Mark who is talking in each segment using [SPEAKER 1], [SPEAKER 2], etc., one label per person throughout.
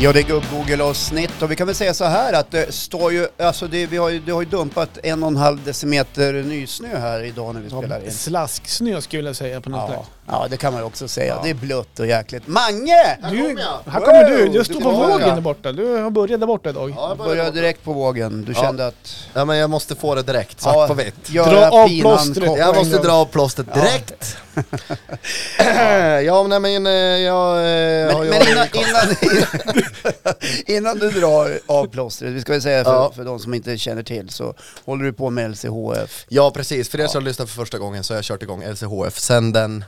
[SPEAKER 1] Ja, det är gubb-Google-avsnitt och vi kan väl säga så här att det står ju, alltså det, vi har ju, det har ju dumpat en och en halv decimeter nysnö här idag när vi spelar in.
[SPEAKER 2] Slasksnö skulle jag säga på något
[SPEAKER 1] Ja,
[SPEAKER 2] sätt.
[SPEAKER 1] ja, det kan man ju också säga. Det är blött och jäkligt. Mange!
[SPEAKER 2] Du,
[SPEAKER 3] jag.
[SPEAKER 2] här kommer du,
[SPEAKER 1] Wow,
[SPEAKER 2] du står
[SPEAKER 1] du
[SPEAKER 2] på
[SPEAKER 1] var
[SPEAKER 2] vågen
[SPEAKER 1] där.
[SPEAKER 2] där borta. Du har börjat där borta idag.
[SPEAKER 3] Ja, jag
[SPEAKER 1] Du började
[SPEAKER 3] börjar direkt.
[SPEAKER 1] direkt på vågen. Du
[SPEAKER 3] Ja.
[SPEAKER 1] kände att...
[SPEAKER 3] Ja, men jag måste få det direkt, svart på vitt.
[SPEAKER 1] göra
[SPEAKER 2] Dra av
[SPEAKER 1] pinan
[SPEAKER 2] plåstret.
[SPEAKER 1] kort.
[SPEAKER 3] Jag
[SPEAKER 2] på en
[SPEAKER 3] måste
[SPEAKER 2] gång.
[SPEAKER 3] dra av plåstret direkt. ja, men nej, men eh, jag eh, har
[SPEAKER 1] Men,
[SPEAKER 3] ju
[SPEAKER 1] men
[SPEAKER 3] varit-
[SPEAKER 1] innan, innan, innan du drar av plåstret, vi ska väl säga för,
[SPEAKER 3] Ja.
[SPEAKER 1] för de som inte känner till, så håller du på med LCHF.
[SPEAKER 3] Ja, precis. För er som lyssnar för första gången så har jag kört igång LCHF sen den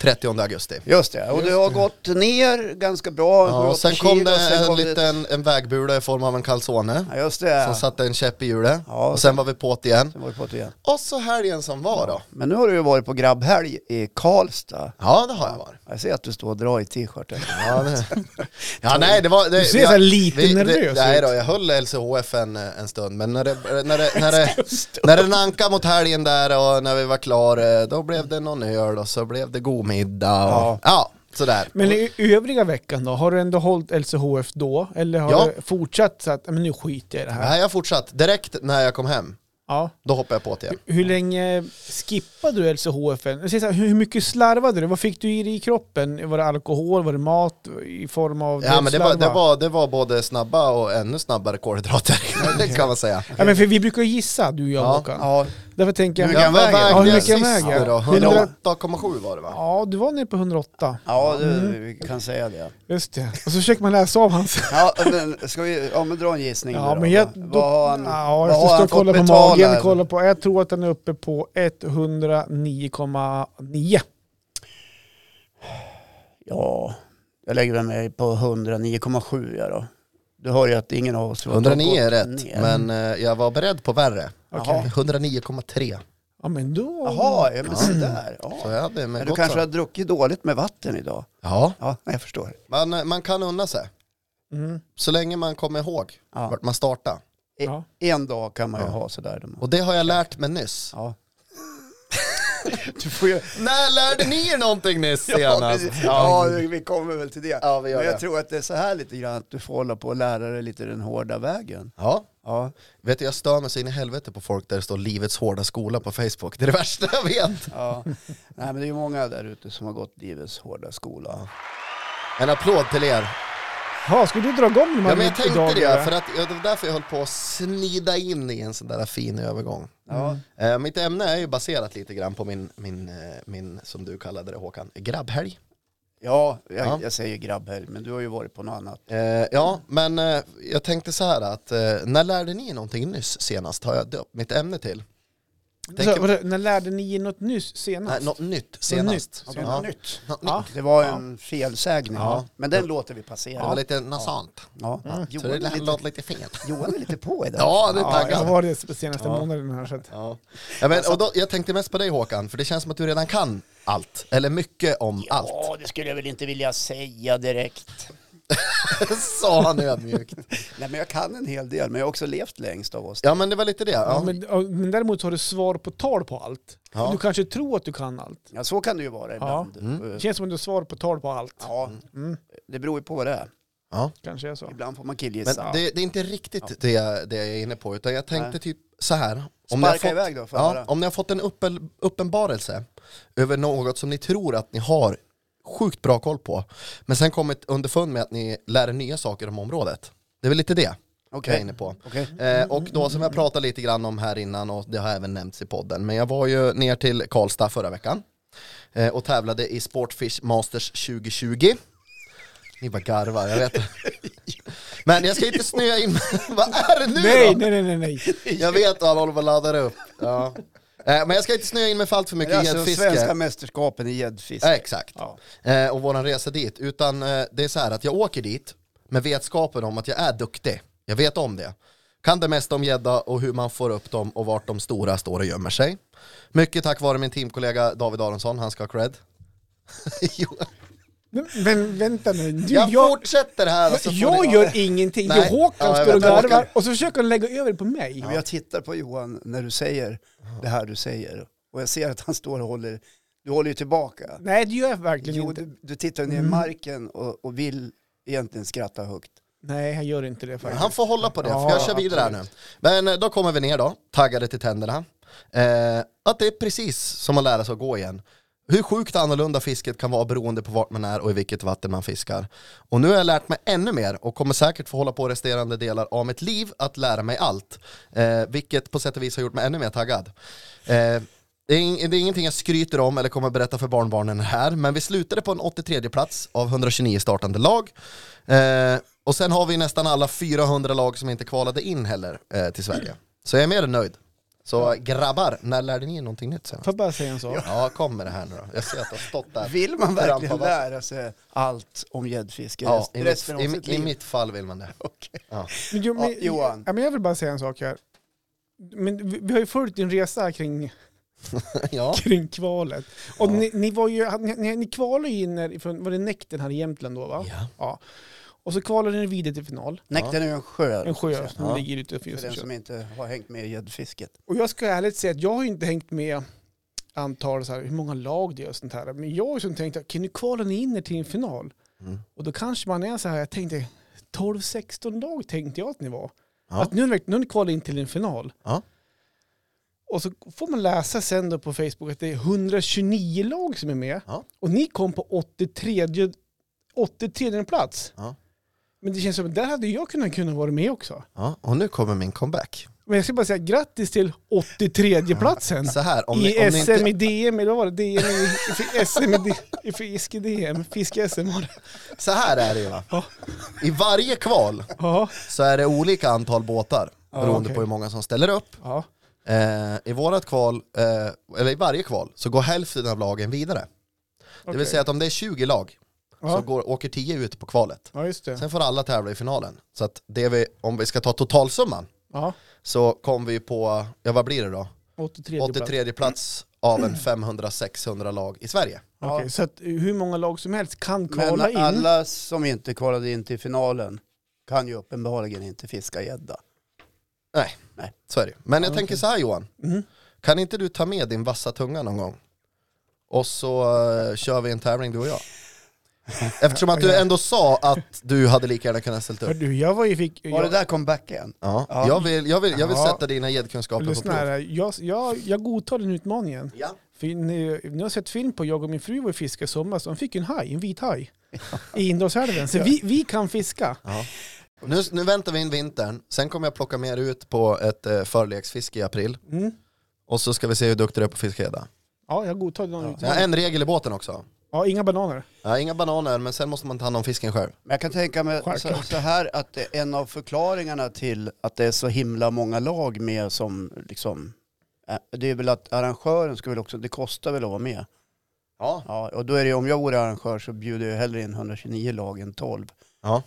[SPEAKER 3] 30 augusti.
[SPEAKER 1] Just det, och det har gått ner ganska bra.
[SPEAKER 3] Ja,
[SPEAKER 1] sju,
[SPEAKER 3] och sen
[SPEAKER 1] åtta
[SPEAKER 3] kom
[SPEAKER 1] kilo,
[SPEAKER 3] det
[SPEAKER 1] sen
[SPEAKER 3] en
[SPEAKER 1] kom det-
[SPEAKER 3] liten en vägbula i form av en calzone
[SPEAKER 1] Ja, just det.
[SPEAKER 3] som satte en käpp i hjulet.
[SPEAKER 1] Ja,
[SPEAKER 3] och sen var vi på't igen.
[SPEAKER 1] Sen var vi på det igen.
[SPEAKER 3] Och så helgen som var då.
[SPEAKER 1] Men nu har du ju varit på grabbhelg i Karlstad.
[SPEAKER 3] Ja, det har jag varit.
[SPEAKER 1] Jag ser att du står och drar i t-shirten.
[SPEAKER 3] Ja, det... ja nej det var... Det, du
[SPEAKER 2] ser så här lite nervös
[SPEAKER 3] Nej
[SPEAKER 2] ut.
[SPEAKER 3] då, jag höll LCHF en, eh, en stund, men när det, när det, när det, när det nankade mot helgen där och när vi var klara, då blev det någon öl och så blev det god middag och,
[SPEAKER 1] Ja.
[SPEAKER 3] ja. sådär.
[SPEAKER 2] Men i övriga veckan då, har du ändå hållit LCHF då? Eller har
[SPEAKER 3] Ja.
[SPEAKER 2] du fortsatt så att, men nu skiter jag i det här.
[SPEAKER 3] Nej, jag fortsatt. Direkt när jag kom hem,
[SPEAKER 2] Ja.
[SPEAKER 3] då hoppade jag på det igen.
[SPEAKER 2] Hur länge skippade du LCHF? Jag säger så här, Hur hur mycket slarvade du? Vad fick du i dig i kroppen? Var det alkohol? Var det mat i form av
[SPEAKER 3] Ja men det var, det,
[SPEAKER 2] slarva?
[SPEAKER 3] var, det var både snabba och ännu snabbare kolhydrater, det kan man säga.
[SPEAKER 2] Ja, men för vi brukar ju gissa, du och jag
[SPEAKER 3] Ja.
[SPEAKER 2] Håkan.
[SPEAKER 1] Ja,
[SPEAKER 2] Därför tänker jag...
[SPEAKER 1] Hur mycket
[SPEAKER 3] Jag
[SPEAKER 1] han väger?
[SPEAKER 3] vägde
[SPEAKER 1] Ja, hur
[SPEAKER 2] mycket
[SPEAKER 3] sist
[SPEAKER 2] han väger?
[SPEAKER 3] då, 108,7 var det va?
[SPEAKER 2] Ja, du var nere på 108.
[SPEAKER 1] ja det,
[SPEAKER 2] Mm.
[SPEAKER 1] vi kan säga det.
[SPEAKER 2] Just det. Och så försöker man läsa av hans...
[SPEAKER 1] Ja, men ska vi, ja men dra en gissning nu
[SPEAKER 2] Ja,
[SPEAKER 1] då.
[SPEAKER 2] men jag... Då,
[SPEAKER 1] Vad har han,
[SPEAKER 2] ja,
[SPEAKER 1] vad
[SPEAKER 2] jag
[SPEAKER 1] har
[SPEAKER 2] ska stå
[SPEAKER 1] han
[SPEAKER 2] och
[SPEAKER 1] fått
[SPEAKER 2] kolla på
[SPEAKER 1] betala?
[SPEAKER 2] magen. Kolla på, jag tror att den är uppe på 109,9.
[SPEAKER 1] Ja, jag lägger väl mig på 109,7 jag då. Du hör ju att ingen av oss har
[SPEAKER 3] 109 är
[SPEAKER 1] gått
[SPEAKER 3] rätt,
[SPEAKER 1] ner.
[SPEAKER 3] men eh, jag var beredd på värre.
[SPEAKER 1] Okej.
[SPEAKER 3] 109,3.
[SPEAKER 2] Ja, men då...
[SPEAKER 1] Jaha, ja, men så där.
[SPEAKER 3] Så
[SPEAKER 1] Ja.
[SPEAKER 3] jag hade med
[SPEAKER 1] Men du
[SPEAKER 3] gott
[SPEAKER 1] kanske
[SPEAKER 3] så.
[SPEAKER 1] har druckit dåligt med vatten idag?
[SPEAKER 3] Ja,
[SPEAKER 1] Ja, jag förstår. E-
[SPEAKER 3] man, eh, man kan unna sig.
[SPEAKER 2] Mm.
[SPEAKER 3] Så länge man kommer ihåg
[SPEAKER 1] Ja.
[SPEAKER 3] vart man startar.
[SPEAKER 1] E-
[SPEAKER 2] Ja.
[SPEAKER 1] En dag kan man ju ha sådär.
[SPEAKER 3] Och det har jag lärt mig nyss.
[SPEAKER 1] Ja. du får ju...
[SPEAKER 3] När lärde ni er någonting nyss senast?
[SPEAKER 1] precis. ja, vi kommer väl till det.
[SPEAKER 3] Ja, vi gör
[SPEAKER 1] Men jag
[SPEAKER 3] det.
[SPEAKER 1] tror att det är så här lite grann, att du får hålla på och lära dig lite den hårda vägen.
[SPEAKER 3] Ja.
[SPEAKER 1] Ja,
[SPEAKER 3] Vet du, jag stör mig så in i helvete på folk där det står livets hårda skola på Facebook. Det är det värsta jag vet.
[SPEAKER 1] ja. Nej, men det är ju många där ute som har gått livets hårda
[SPEAKER 3] Mm.
[SPEAKER 1] skola.
[SPEAKER 3] En applåd till er.
[SPEAKER 2] Ja, ska du dra igång de här
[SPEAKER 3] Ja, men jag tänkte
[SPEAKER 2] dagarna?
[SPEAKER 3] det, för att, ja, det var därför jag höll på att snida in i en sån där fin övergång.
[SPEAKER 1] Ja.
[SPEAKER 3] Eh, mitt ämne är ju baserat lite grann på min, min, eh, min som du kallade det Håkan, grabbhelg.
[SPEAKER 1] Ja, jag,
[SPEAKER 3] Ja.
[SPEAKER 1] jag säger grabbhelg, men du har ju varit på något annat.
[SPEAKER 3] Eh, ja, men eh, jag tänkte så här att eh, när lärde ni er någonting nyss senast har jag döpt mitt ämne till? Tänker-
[SPEAKER 2] Så, Alltså, vadå, när lärde ni er något nyss senast?
[SPEAKER 3] Nej, något nytt senast.
[SPEAKER 1] Ja,
[SPEAKER 3] Något
[SPEAKER 1] det var nytt.
[SPEAKER 3] Något nytt.
[SPEAKER 2] Ja.
[SPEAKER 1] Det var en felsägning,
[SPEAKER 3] Ja.
[SPEAKER 1] men den låter vi passera.
[SPEAKER 3] Det var lite nasalt.
[SPEAKER 1] Ja.
[SPEAKER 3] Så
[SPEAKER 1] Johan,
[SPEAKER 3] det
[SPEAKER 1] är
[SPEAKER 3] lät-
[SPEAKER 1] lite,
[SPEAKER 3] låter lite fel.
[SPEAKER 1] Johan är lite på idag.
[SPEAKER 3] Ja, det är
[SPEAKER 2] Ja, jag
[SPEAKER 3] taggad.
[SPEAKER 2] har varit det senaste
[SPEAKER 3] Ja.
[SPEAKER 2] månaden här så att...
[SPEAKER 3] Ja. Ja, men, och då, jag tänkte mest på dig Håkan, för det känns som att du redan kan allt. Eller mycket om allt.
[SPEAKER 1] Ja, det skulle jag väl inte vilja säga direkt.
[SPEAKER 3] Sa han ödmjukt.
[SPEAKER 1] Nej, men jag kan en hel del, men jag har också levt längst av oss.
[SPEAKER 3] Ja men det var lite det.
[SPEAKER 2] Ja,
[SPEAKER 3] Ja.
[SPEAKER 2] men, ja, men däremot har du svar på tal på allt.
[SPEAKER 3] Ja.
[SPEAKER 2] Du kanske tror att du kan allt.
[SPEAKER 1] Ja, så kan det ju vara ibland.
[SPEAKER 3] Mm.
[SPEAKER 1] Eh,
[SPEAKER 2] Det känns som att du har svar på tal på allt.
[SPEAKER 1] Ja,
[SPEAKER 2] Mm,
[SPEAKER 1] det beror ju på vad det är.
[SPEAKER 3] Ja.
[SPEAKER 2] kanske är så.
[SPEAKER 1] Ibland får man
[SPEAKER 3] Men
[SPEAKER 1] killgissa.
[SPEAKER 3] det, det är inte riktigt det, jag- det jag är inne på, utan jag tänkte
[SPEAKER 1] Nej.
[SPEAKER 3] typ så här. Om ni har
[SPEAKER 1] Sparka
[SPEAKER 3] fått,
[SPEAKER 1] iväg då, får jag
[SPEAKER 3] ja,
[SPEAKER 1] höra.
[SPEAKER 3] om ni har fått en uppel, uppenbarelse över något som ni tror att ni har sjukt bra koll på, men sen kommit underfund med att ni lär er nya saker om området. Det är väl lite det jag är
[SPEAKER 1] Okej.
[SPEAKER 3] inne på.
[SPEAKER 1] Okej.
[SPEAKER 3] Eh, och då som jag pratade lite grann om här innan och det har även nämnts i podden. Men jag var ju ner till Karlstad förra veckan eh, och tävlade i Sportfish Masters 2020. Ni bara garvar, jag vet. Men jag ska inte snöa in Vad är det nu
[SPEAKER 2] Nej,
[SPEAKER 3] då?
[SPEAKER 2] nej, nej, nej, nej.
[SPEAKER 3] Jag vet att han håller på att ladda upp. Ja. Eh, men jag ska inte snöa in mig för allt för
[SPEAKER 1] Det är
[SPEAKER 3] mycket
[SPEAKER 1] alltså
[SPEAKER 3] gäddfiske.
[SPEAKER 1] svenska mästerskapen i gäddfiske.
[SPEAKER 3] Ja, exakt. Eh, och våran resa dit. Utan eh, det är så här att jag åker dit med vetskapen om att jag är duktig. Jag vet om det. Kan det mesta om gädda och hur man får upp dem och vart de stora står och gömmer sig. Mycket tack vare min teamkollega David Aronsson, han ska ha cred. jo,
[SPEAKER 2] Men, men vänta nu. Du,
[SPEAKER 3] jag,
[SPEAKER 2] jag, jag,
[SPEAKER 3] fortsätter här. och så Alltså, får ni-
[SPEAKER 2] gör ingenting. Det är
[SPEAKER 3] Nej.
[SPEAKER 2] Håkan
[SPEAKER 3] Ja, jag
[SPEAKER 2] står och
[SPEAKER 3] vet, Håkan.
[SPEAKER 2] garvar och så försöker han lägga över det på mig.
[SPEAKER 1] Men jag tittar på Johan när du säger det här du säger. Och jag ser att han står och håller, du håller ju tillbaka.
[SPEAKER 2] Nej, det gör jag verkligen
[SPEAKER 1] Jo,
[SPEAKER 2] inte.
[SPEAKER 3] Mm.
[SPEAKER 1] du, du tittar ner i marken och, och vill egentligen skratta högt.
[SPEAKER 2] Nej, han gör inte det faktiskt.
[SPEAKER 3] Han får hålla på det, för
[SPEAKER 2] Ja,
[SPEAKER 3] jag kör vidare här nu. Men eh, då kommer vi ner då, taggade till tänderna. Eh, att det är precis som att lära sig att gå igen. Hur sjukt annorlunda fisket kan vara beroende på vart man är och i vilket vatten man fiskar. Och nu har jag lärt mig ännu mer och kommer säkert få hålla på resterande delar av mitt liv att lära mig allt. Eh, vilket på sätt och vis har gjort mig ännu mer taggad. Eh, det är, ing- det är ingenting jag skryter om eller kommer att berätta för barnbarnen här, men vi slutade på en 83 plats av 129 startande lag. Eh, och sen har vi nästan alla 400 lag som inte kvalade in heller eh, till Sverige. Så jag är mer än nöjd. Så grabbar, när lärde ni er någonting nytt sen?
[SPEAKER 2] Får jag bara säga en sak?
[SPEAKER 3] Ja, kom med det här nu då. Jag ser att du har stått där.
[SPEAKER 1] Vill man verkligen
[SPEAKER 3] Trampa vatten.
[SPEAKER 1] lära sig allt om gäddfiske
[SPEAKER 3] Ja,
[SPEAKER 1] rest-
[SPEAKER 3] i
[SPEAKER 1] resten av
[SPEAKER 3] mitt,
[SPEAKER 1] sitt
[SPEAKER 3] i, i
[SPEAKER 1] liv?
[SPEAKER 3] mitt fall vill man det. Ja.
[SPEAKER 2] Men, jo, men,
[SPEAKER 1] Ja, Johan.
[SPEAKER 2] Ja, men jag vill bara säga en sak här. Men vi, vi har ju följt din resa kring,
[SPEAKER 3] ja.
[SPEAKER 2] kring kvalet. Och ni, ni, var ju, ni, ni- ni kvalade ju in er ifrån, var det Näkten här i Jämtland då va?
[SPEAKER 3] Ja.
[SPEAKER 2] Och så kvalade ni vidare till final.
[SPEAKER 1] Näkten är ju en sjö.
[SPEAKER 2] En sjö som
[SPEAKER 3] Ja.
[SPEAKER 2] ligger
[SPEAKER 1] För
[SPEAKER 2] utanför
[SPEAKER 1] den
[SPEAKER 2] Josefsson.
[SPEAKER 1] som inte har hängt med i gäddfisket.
[SPEAKER 2] Och jag ska ärligt säga att jag har ju inte hängt med antal, så här, hur många lag det är och sånt här. Men jag har ju som tänkt, okej nu kvalar ni in er till en final.
[SPEAKER 3] Mm.
[SPEAKER 2] Och då kanske man är så här, jag tänkte 12-16 lag tänkte jag att ni var.
[SPEAKER 3] Ja.
[SPEAKER 2] Att nu, är ni verkligen- nu har ni kvalat in till en final.
[SPEAKER 3] Ja.
[SPEAKER 2] Och så får man läsa sen då på Facebook att det är 129 lag som är med.
[SPEAKER 3] Ja.
[SPEAKER 2] Och ni kom på 83, 83 plats.
[SPEAKER 3] Ja.
[SPEAKER 2] Men det känns som att där hade jag kunnat, kunnat vara med också.
[SPEAKER 3] Ja. Och nu kommer min comeback.
[SPEAKER 2] Men jag ska bara säga grattis till 83 platsen.
[SPEAKER 3] Så här, om
[SPEAKER 2] I
[SPEAKER 3] ni, om ni
[SPEAKER 2] SM
[SPEAKER 3] inte...
[SPEAKER 2] i DM, eller vad var det? DM i, i fi- SM i, D- i fiske-DM, fiske-SM var det.
[SPEAKER 3] Så här är det ju va.
[SPEAKER 2] Ja.
[SPEAKER 3] I varje kval
[SPEAKER 2] Ja,
[SPEAKER 3] så är det olika antal båtar
[SPEAKER 2] Ja,
[SPEAKER 3] beroende
[SPEAKER 2] okej.
[SPEAKER 3] på hur många som ställer upp.
[SPEAKER 2] ja.
[SPEAKER 3] Eh, I vårat kval, eh, eller i varje kval, så går hälften av lagen vidare. Det
[SPEAKER 2] okej.
[SPEAKER 3] vill säga att om det är 20 lag
[SPEAKER 2] ja.
[SPEAKER 3] så går, åker 10 ut på kvalet.
[SPEAKER 2] ja, just det.
[SPEAKER 3] Sen får alla tävla i finalen. Så att det vi, om vi ska ta totalsumman
[SPEAKER 2] Ja.
[SPEAKER 3] så kom vi på, ja vad blir det då?
[SPEAKER 2] 83 plats.
[SPEAKER 3] 83 plats av en 500-600 lag i Sverige.
[SPEAKER 2] Okej, så att hur många lag som helst kan
[SPEAKER 1] Men
[SPEAKER 2] kvala in.
[SPEAKER 1] alla som inte kvalade in till finalen kan ju uppenbarligen inte fiska gädda.
[SPEAKER 3] Nej,
[SPEAKER 1] Nej.
[SPEAKER 3] så är det ju. Men jag
[SPEAKER 2] Ja,
[SPEAKER 3] tänker
[SPEAKER 2] okej.
[SPEAKER 3] så här Johan,
[SPEAKER 2] Mm.
[SPEAKER 3] kan inte du ta med din vassa tunga någon gång? Och så eh, kör vi en tävling du och jag. Eftersom att du ändå sa att du hade lika gärna kunnat ställt upp.
[SPEAKER 2] För du, jag var ju... Fick,
[SPEAKER 1] Var det
[SPEAKER 2] jag,
[SPEAKER 1] där comebacken?
[SPEAKER 3] Ja,
[SPEAKER 1] Ja.
[SPEAKER 3] jag vill, jag vill, jag vill
[SPEAKER 2] Ja.
[SPEAKER 3] sätta dina gäddkunskaper på
[SPEAKER 2] lyssna
[SPEAKER 3] prov.
[SPEAKER 2] här, jag, jag, jag godtar den utmaningen.
[SPEAKER 3] Ja.
[SPEAKER 2] För ni, ni har sett film på, jag och min fru var och fiskade i somras, de fick ju en haj, en vit haj. I Indalsälven. Så vi, vi kan fiska.
[SPEAKER 3] Ja. Nu, nu väntar vi in vintern, sen kommer jag plocka med er ut på ett eh, förleksfiske i april.
[SPEAKER 2] Mm.
[SPEAKER 3] Och så ska vi se hur duktig du är på att fiska gädda.
[SPEAKER 2] Ja, jag godtar den
[SPEAKER 3] Jag har
[SPEAKER 2] utmaningen.
[SPEAKER 3] en regel i båten också.
[SPEAKER 2] Ja, inga bananer.
[SPEAKER 3] Ja, inga bananer, men sen måste man ta hand om fisken själv.
[SPEAKER 1] Men jag kan tänka mig så,
[SPEAKER 2] Självklart.
[SPEAKER 1] så här att det är en av förklaringarna till att det är så himla många lag med som liksom, eh, det är väl att arrangören ska väl också, det kostar väl att vara med.
[SPEAKER 3] Ja.
[SPEAKER 1] Ja, och då är det ju, om jag vore arrangör så bjuder jag hellre in 129 lag än 12.
[SPEAKER 3] Ja.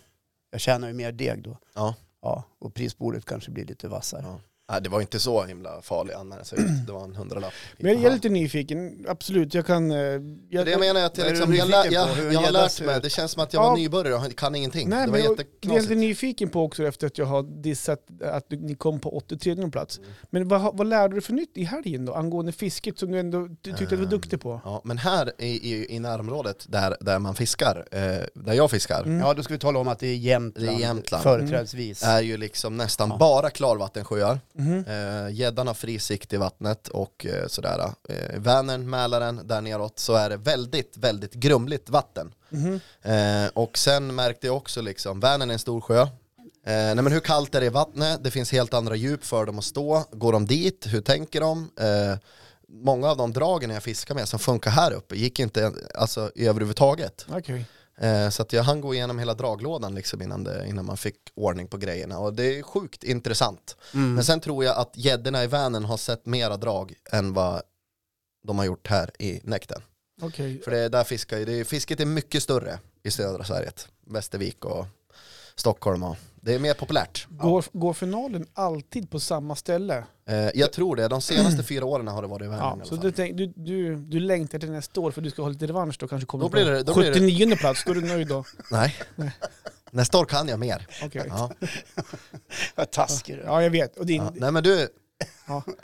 [SPEAKER 1] Jag tjänar ju mer deg då.
[SPEAKER 3] Ja.
[SPEAKER 1] Ja, och prisbordet kanske blir lite vassare.
[SPEAKER 3] Ja. Nej, det var inte så himla farlig anmärkning, det var en hundralapp.
[SPEAKER 2] Men jag är lite nyfiken, absolut. Jag kan... eh, Jag,
[SPEAKER 3] Det jag menar är att
[SPEAKER 1] Vad
[SPEAKER 3] jag,
[SPEAKER 1] är du
[SPEAKER 3] liksom, jag, lä-
[SPEAKER 1] nyfiken på?
[SPEAKER 3] jag,
[SPEAKER 1] Hur
[SPEAKER 3] jag har
[SPEAKER 1] jävla
[SPEAKER 3] lärt
[SPEAKER 1] ser
[SPEAKER 3] mig,
[SPEAKER 1] ut?
[SPEAKER 3] det känns som att jag var
[SPEAKER 2] Ja.
[SPEAKER 3] nybörjare och kan ingenting.
[SPEAKER 2] Nej,
[SPEAKER 3] det var
[SPEAKER 2] men jag, det är inte
[SPEAKER 3] jätteknasigt.
[SPEAKER 2] nyfiken på också efter att jag har dissat att du- ni kom på 83 plats.
[SPEAKER 3] Mm.
[SPEAKER 2] Men vad, har- vad lärde du för nytt i helgen då, angående fisket som du ändå ty- tyckte att du var
[SPEAKER 3] Ehm,
[SPEAKER 2] duktig på?
[SPEAKER 3] Ja, men här i, i, i närområdet där, där man fiskar, eh, där jag fiskar,
[SPEAKER 2] Mm.
[SPEAKER 1] Ja, då ska vi tala om att det är Jämtland,
[SPEAKER 3] Det är Jämtland.
[SPEAKER 1] företrädesvis.
[SPEAKER 3] är ju liksom nästan
[SPEAKER 1] Ja.
[SPEAKER 3] bara klarvattensjöar.
[SPEAKER 2] Mhm.
[SPEAKER 3] Eh, Gäddan har fri sikt i vattnet och eh, sådär. Eh, Vänern, Mälaren, där neråt så är det väldigt, väldigt grumligt vatten.
[SPEAKER 2] Mhm.
[SPEAKER 3] Eh, och sen märkte jag också liksom, Vänern är en stor sjö. Eh, nej men hur kallt är det i vattnet? Det finns helt andra djup för dem att stå. Går de dit? Hur tänker de? Eh, många av de dragen jag fiskar med som funkar här uppe gick inte alltså, överhuvudtaget.
[SPEAKER 2] Okej.
[SPEAKER 3] Eh, så att jag hann gå igenom hela draglådan liksom innan, det, innan man fick ordning på grejerna. Och det är sjukt intressant.
[SPEAKER 1] Mm.
[SPEAKER 3] Äh, Men sen tror jag att gäddorna i Vänern har sett mera drag än vad de har gjort här i Näkten.
[SPEAKER 2] okej.
[SPEAKER 3] För det är där fiskar, ju- det är, fisket är mycket större i södra Sverige. Västervik och Stockholm och det är mer populärt.
[SPEAKER 2] Går, går finalen alltid på samma ställe?
[SPEAKER 3] Eh, jag tror det, de senaste fyra åren har det varit i Vänern
[SPEAKER 2] Ja,
[SPEAKER 3] i
[SPEAKER 2] så
[SPEAKER 3] alla
[SPEAKER 2] du,
[SPEAKER 3] fall.
[SPEAKER 2] tänk, du, du, du längtar till nästa år för du ska ha lite revansch då kanske kommer
[SPEAKER 3] Då blir
[SPEAKER 2] på
[SPEAKER 3] det- då blir det-
[SPEAKER 2] 79 plats, då är du nöjd då?
[SPEAKER 3] Nej,
[SPEAKER 2] Nej.
[SPEAKER 3] nästa år kan jag mer.
[SPEAKER 2] Okej.
[SPEAKER 3] Ja.
[SPEAKER 1] Vad taskig du är.
[SPEAKER 2] Ja, jag vet. Och din,
[SPEAKER 3] Ja. Nej men du,
[SPEAKER 2] Ja.
[SPEAKER 3] Du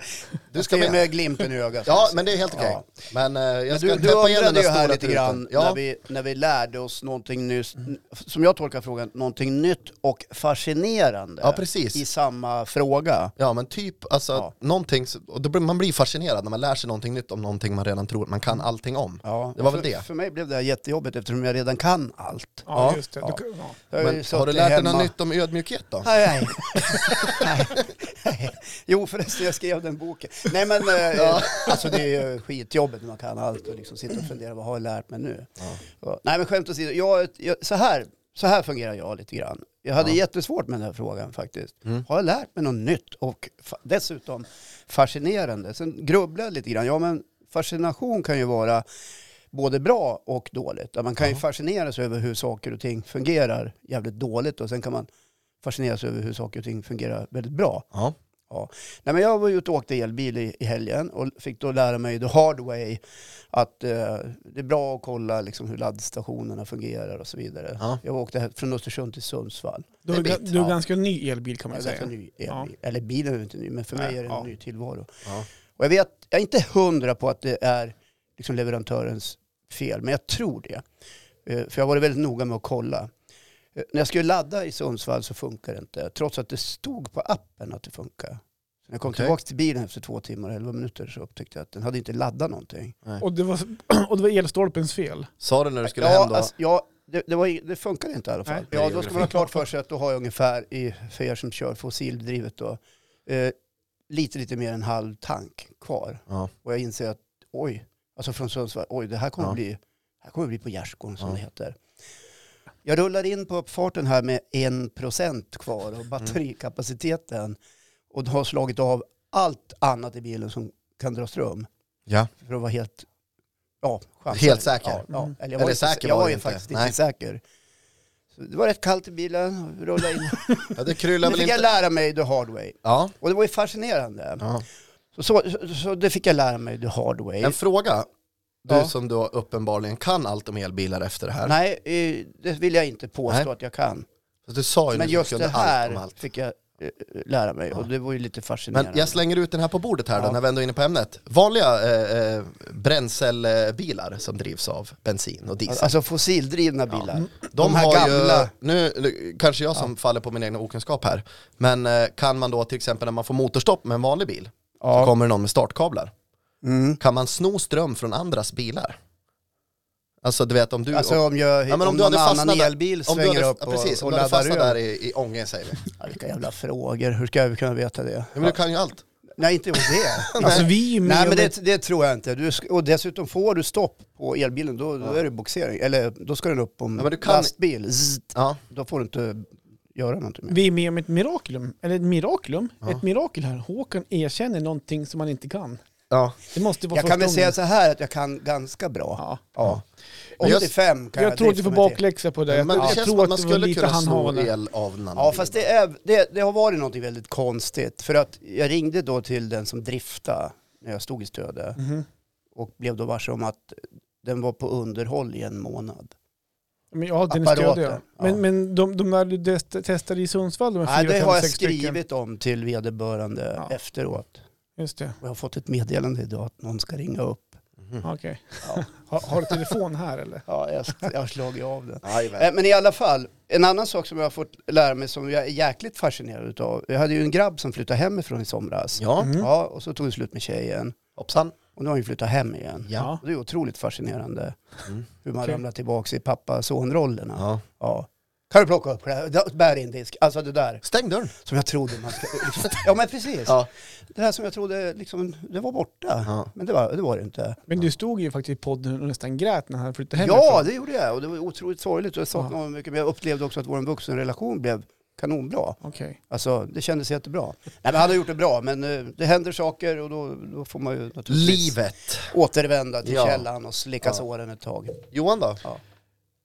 [SPEAKER 1] Ska
[SPEAKER 3] ska
[SPEAKER 1] vi
[SPEAKER 3] med.
[SPEAKER 1] med glimten i ögat.
[SPEAKER 3] Ja, men det är helt okej.
[SPEAKER 1] Ja.
[SPEAKER 3] Men eh, jag
[SPEAKER 1] Men
[SPEAKER 3] ska
[SPEAKER 1] du, du
[SPEAKER 3] täppa igen den
[SPEAKER 1] undrade ju
[SPEAKER 3] stora
[SPEAKER 1] här lite
[SPEAKER 3] truten.
[SPEAKER 1] grann när,
[SPEAKER 3] Ja, Mm.
[SPEAKER 1] vi, eh, när vi lärde oss någonting nyss, som jag tolkar frågan, någonting nytt och fascinerande
[SPEAKER 3] Ja, precis.
[SPEAKER 1] i samma fråga.
[SPEAKER 3] ja, men typ alltså
[SPEAKER 1] Ja.
[SPEAKER 3] någonting, s- och då blir, man blir fascinerad när man lär sig någonting nytt om någonting man redan tror man kan allting om.
[SPEAKER 1] Ja,
[SPEAKER 3] Det var väl
[SPEAKER 1] för,
[SPEAKER 3] det.
[SPEAKER 1] För mig blev det här jättejobbigt eftersom jag redan kan allt.
[SPEAKER 2] Ja,
[SPEAKER 3] Ja,
[SPEAKER 2] just det.
[SPEAKER 1] ja.
[SPEAKER 2] Du, ja.
[SPEAKER 1] Jag ju
[SPEAKER 3] Men har du
[SPEAKER 1] suttit
[SPEAKER 3] lärt dig
[SPEAKER 1] hemma.
[SPEAKER 3] något nytt om ödmjukhet då?
[SPEAKER 1] Nej, nej. nej. nej. Jo förresten, jag skrev den boken. Nej men, eh, alltså det är ju skitjobbigt när man kan allt och liksom sitter och funderar, vad har jag lärt mig nu? Ja. Nej men skämt åsido, jag, jag, så, här, så här fungerar jag lite grann. Jag hade jättesvårt med den här frågan faktiskt.
[SPEAKER 3] Mm.
[SPEAKER 1] Har jag lärt mig något nytt och fa- dessutom fascinerande? Sen grubblar jag lite grann, ja men fascination kan ju vara både bra och dåligt. Att Man kan ju fascineras över hur saker och ting fungerar jävligt dåligt och sen kan man fascineras över hur saker och ting fungerar väldigt bra.
[SPEAKER 3] Ja.
[SPEAKER 1] Ja. Nej, men jag var ute och åkte elbil i, i helgen och fick då lära mig the hard way att eh, det är bra att kolla liksom, hur laddstationerna fungerar och så vidare.
[SPEAKER 3] Ja.
[SPEAKER 1] Jag åkte här från Östersund till Sundsvall.
[SPEAKER 2] du, är
[SPEAKER 3] Det är
[SPEAKER 2] ga-
[SPEAKER 3] mitt,
[SPEAKER 2] du är
[SPEAKER 1] ja.
[SPEAKER 2] ganska ny elbil kan man ju
[SPEAKER 1] Jag är
[SPEAKER 2] säga.
[SPEAKER 1] ganska ny elbil. Eller bilen är ju inte ny, men för mig
[SPEAKER 2] Nej,
[SPEAKER 1] är det en
[SPEAKER 2] ja.
[SPEAKER 1] ny tillvaro.
[SPEAKER 3] Ja.
[SPEAKER 1] Och jag, vet, jag är inte hundra på att det är liksom leverantörens fel, men jag tror det. Eh, För jag har varit väldigt noga med att kolla. Eh, När jag skulle ladda i Sundsvall så funkar det inte, trots att det stod på appen att det funkar. Så När jag kom
[SPEAKER 3] Okej.
[SPEAKER 1] tillbaka till bilen efter två timmar och elva minuter så upptäckte jag att den hade inte laddat någonting.
[SPEAKER 2] Och, det var, och det var elstolpens fel.
[SPEAKER 3] Sa du när du skulle
[SPEAKER 1] ja,
[SPEAKER 3] hem då?
[SPEAKER 1] alltså, ja, det, det, var, i- det funkade inte i alla fall.
[SPEAKER 2] Nej.
[SPEAKER 1] ja, då ska man ha klart för sig att då har jag ungefär, i, för er som kör fossildrivet då, eh, lite, lite mer än en halv tank kvar.
[SPEAKER 3] Ja.
[SPEAKER 1] Och jag inser att, oj, alltså från Sundsvall, oj, det här kommer
[SPEAKER 3] Ja.
[SPEAKER 1] bli, här kommer bli på gärdsgården som
[SPEAKER 3] Ja.
[SPEAKER 1] det heter. Jag rullar in på uppfarten här med en procent kvar
[SPEAKER 3] Mm.
[SPEAKER 1] av batterikapaciteten och har slagit av allt annat i bilen som kan dra ström
[SPEAKER 3] ja.
[SPEAKER 1] för att vara helt, ja, chansar.
[SPEAKER 3] Helt säker?
[SPEAKER 1] Ja, ja.
[SPEAKER 2] Mm.
[SPEAKER 1] Eller jag var,
[SPEAKER 3] Eller
[SPEAKER 1] inte,
[SPEAKER 3] säker
[SPEAKER 1] jag
[SPEAKER 3] var
[SPEAKER 1] var
[SPEAKER 3] du
[SPEAKER 1] ju
[SPEAKER 3] inte.
[SPEAKER 1] faktiskt
[SPEAKER 3] Nej.
[SPEAKER 1] inte säker. Så det var rätt kallt i bilen, rullade in.
[SPEAKER 3] ja, det kryllar
[SPEAKER 1] Nu
[SPEAKER 3] väl
[SPEAKER 1] fick jag
[SPEAKER 3] inte...
[SPEAKER 1] lära mig the hard way.
[SPEAKER 3] Ja.
[SPEAKER 1] Och det var ju fascinerande.
[SPEAKER 3] ja.
[SPEAKER 1] Så, så, så, så det fick jag lära mig the hard way.
[SPEAKER 3] En fråga, du
[SPEAKER 1] Ja.
[SPEAKER 3] som då uppenbarligen kan allt om elbilar efter det här.
[SPEAKER 1] Nej, eh, det vill jag inte påstå
[SPEAKER 3] Nej.
[SPEAKER 1] att jag kan.
[SPEAKER 3] Så Du sa ju
[SPEAKER 1] Men
[SPEAKER 3] nyss att
[SPEAKER 1] just
[SPEAKER 3] du
[SPEAKER 1] det
[SPEAKER 3] kunde allt
[SPEAKER 1] här
[SPEAKER 3] om allt.
[SPEAKER 1] fick jag eh, lära mig och det var ju lite fascinerande.
[SPEAKER 3] Men jag slänger ut den här på bordet här då,
[SPEAKER 1] Ja.
[SPEAKER 3] när vi ändå är inne på ämnet. Vanliga eh, eh, bränslebilar som drivs av bensin och diesel.
[SPEAKER 1] Alltså fossildrivna bilar. De,
[SPEAKER 3] Mm. de
[SPEAKER 1] här
[SPEAKER 3] har
[SPEAKER 1] gamla.
[SPEAKER 3] ju, nu nu kanske jag som faller på min egna okunskap här, men eh, kan man då till exempel när man får motorstopp med en vanlig bil, så
[SPEAKER 1] Ja.
[SPEAKER 3] kommer det någon med startkablar.
[SPEAKER 1] Mm.
[SPEAKER 3] Kan man sno ström från andras bilar? Alltså du vet om du...
[SPEAKER 1] Alltså om, jag,
[SPEAKER 3] Ja,
[SPEAKER 1] om,
[SPEAKER 3] men om du
[SPEAKER 1] någon
[SPEAKER 3] hade fastnat
[SPEAKER 1] annan
[SPEAKER 3] där-
[SPEAKER 1] elbil
[SPEAKER 3] om du
[SPEAKER 1] svänger
[SPEAKER 3] hade-
[SPEAKER 1] upp
[SPEAKER 3] ja,
[SPEAKER 1] och,
[SPEAKER 3] precis, om
[SPEAKER 1] och
[SPEAKER 3] du hade
[SPEAKER 1] laddar
[SPEAKER 3] fastnat där
[SPEAKER 1] ur.
[SPEAKER 3] i, i ången säger vi. Ja,
[SPEAKER 1] Ja, vilka jävla frågor, hur ska jag kunna veta det?
[SPEAKER 3] men du kan ju allt.
[SPEAKER 1] Nej, inte om det.
[SPEAKER 2] Alltså vi är ju med
[SPEAKER 1] Nej, men
[SPEAKER 2] om
[SPEAKER 1] det, det tror jag inte. Du, sk- och dessutom får du stopp på elbilen, då, då är det boxering. Eller då ska den upp på en
[SPEAKER 3] Ja, men du kan-
[SPEAKER 1] lastbil. Zzz,
[SPEAKER 3] Ja.
[SPEAKER 1] då får du inte göra någonting mer.
[SPEAKER 2] Vi är med om ett mirakulum, eller ett mirakulum, ett mirakel här. Håkan erkänner någonting som han inte kan.
[SPEAKER 3] Ja.
[SPEAKER 2] Det måste vara
[SPEAKER 1] Jag
[SPEAKER 2] första
[SPEAKER 1] kan väl
[SPEAKER 2] gången.
[SPEAKER 1] säga så här att jag kan ganska bra.
[SPEAKER 2] Ja.
[SPEAKER 1] Ja.
[SPEAKER 3] Men jag-
[SPEAKER 1] 85 kan jag
[SPEAKER 2] Jag tror att du
[SPEAKER 1] drista
[SPEAKER 2] får
[SPEAKER 1] mig till.
[SPEAKER 2] bakläxa på det.
[SPEAKER 3] Men
[SPEAKER 2] Jag,
[SPEAKER 3] det
[SPEAKER 2] jag
[SPEAKER 3] känns
[SPEAKER 2] tror
[SPEAKER 3] som att
[SPEAKER 2] att,
[SPEAKER 3] man
[SPEAKER 2] det var
[SPEAKER 3] skulle
[SPEAKER 2] lite
[SPEAKER 3] kunna sno
[SPEAKER 2] handhavande.
[SPEAKER 3] el av en annan
[SPEAKER 1] Ja
[SPEAKER 3] bil.
[SPEAKER 1] fast det, är, det, det har varit något väldigt konstigt. För att jag ringde då till den som drifta när jag stod i Stöde
[SPEAKER 2] Mhm.
[SPEAKER 1] och blev då varse om att den var på underhåll i en månad.
[SPEAKER 2] Men ja, den är
[SPEAKER 1] Apparaten,
[SPEAKER 2] stödig. ja.
[SPEAKER 1] ja.
[SPEAKER 2] Men, men de, de där du test- testade i Sundsvall, de här
[SPEAKER 1] Nej,
[SPEAKER 2] fyra,
[SPEAKER 1] det
[SPEAKER 2] fem,
[SPEAKER 1] har jag
[SPEAKER 2] sex stycken.
[SPEAKER 1] skrivit om till vederbörande
[SPEAKER 2] Ja.
[SPEAKER 1] efteråt.
[SPEAKER 2] Just det,
[SPEAKER 1] Och jag har fått ett meddelande idag att någon ska ringa upp.
[SPEAKER 2] okej.
[SPEAKER 1] Mm. Ja.
[SPEAKER 2] Har, har du telefon här eller?
[SPEAKER 1] Ja, jag, jag har slagit av den.
[SPEAKER 3] Jajamän.
[SPEAKER 1] Eh, Men i alla fall, en annan sak som jag har fått lära mig som jag är jäkligt fascinerad utav. Jag hade ju en grabb som flyttade hemifrån i somras.
[SPEAKER 3] Ja,
[SPEAKER 2] Mm.
[SPEAKER 1] Ja, och så tog det slut med tjejen.
[SPEAKER 3] hoppsan.
[SPEAKER 1] Och nu har hon ju flyttat hem igen.
[SPEAKER 3] Ja.
[SPEAKER 1] Och Det är otroligt fascinerande
[SPEAKER 3] Mm.
[SPEAKER 1] hur man
[SPEAKER 2] Okej.
[SPEAKER 1] ramlar tillbaka i pappa-son-rollerna. Ja.
[SPEAKER 3] Ja.
[SPEAKER 1] Kan du plocka upp kläderna? Bär in disk. Alltså det där
[SPEAKER 3] Stäng dörren.
[SPEAKER 1] som jag trodde man ska... ja men precis.
[SPEAKER 3] Ja.
[SPEAKER 1] Det här som jag trodde liksom, det var borta.
[SPEAKER 3] Ja.
[SPEAKER 1] Men det var det, var det inte.
[SPEAKER 2] Men du stod ju faktiskt i podden och nästan grät när han flyttade hemifrån.
[SPEAKER 1] Ja, det gjorde jag. Och det var otroligt sorgligt. Och jag saknade honom mycket. Men jag upplevde också att vår vuxenrelation blev kanonbra.
[SPEAKER 2] Okej.
[SPEAKER 1] Alltså det kändes jättebra. Nej men han har gjort det bra. Men eh, det händer saker och då, då får man ju naturligtvis
[SPEAKER 3] Livet.
[SPEAKER 1] återvända till
[SPEAKER 3] Ja.
[SPEAKER 1] källan och slicka
[SPEAKER 3] Ja.
[SPEAKER 1] såren ett tag.
[SPEAKER 3] Johan då?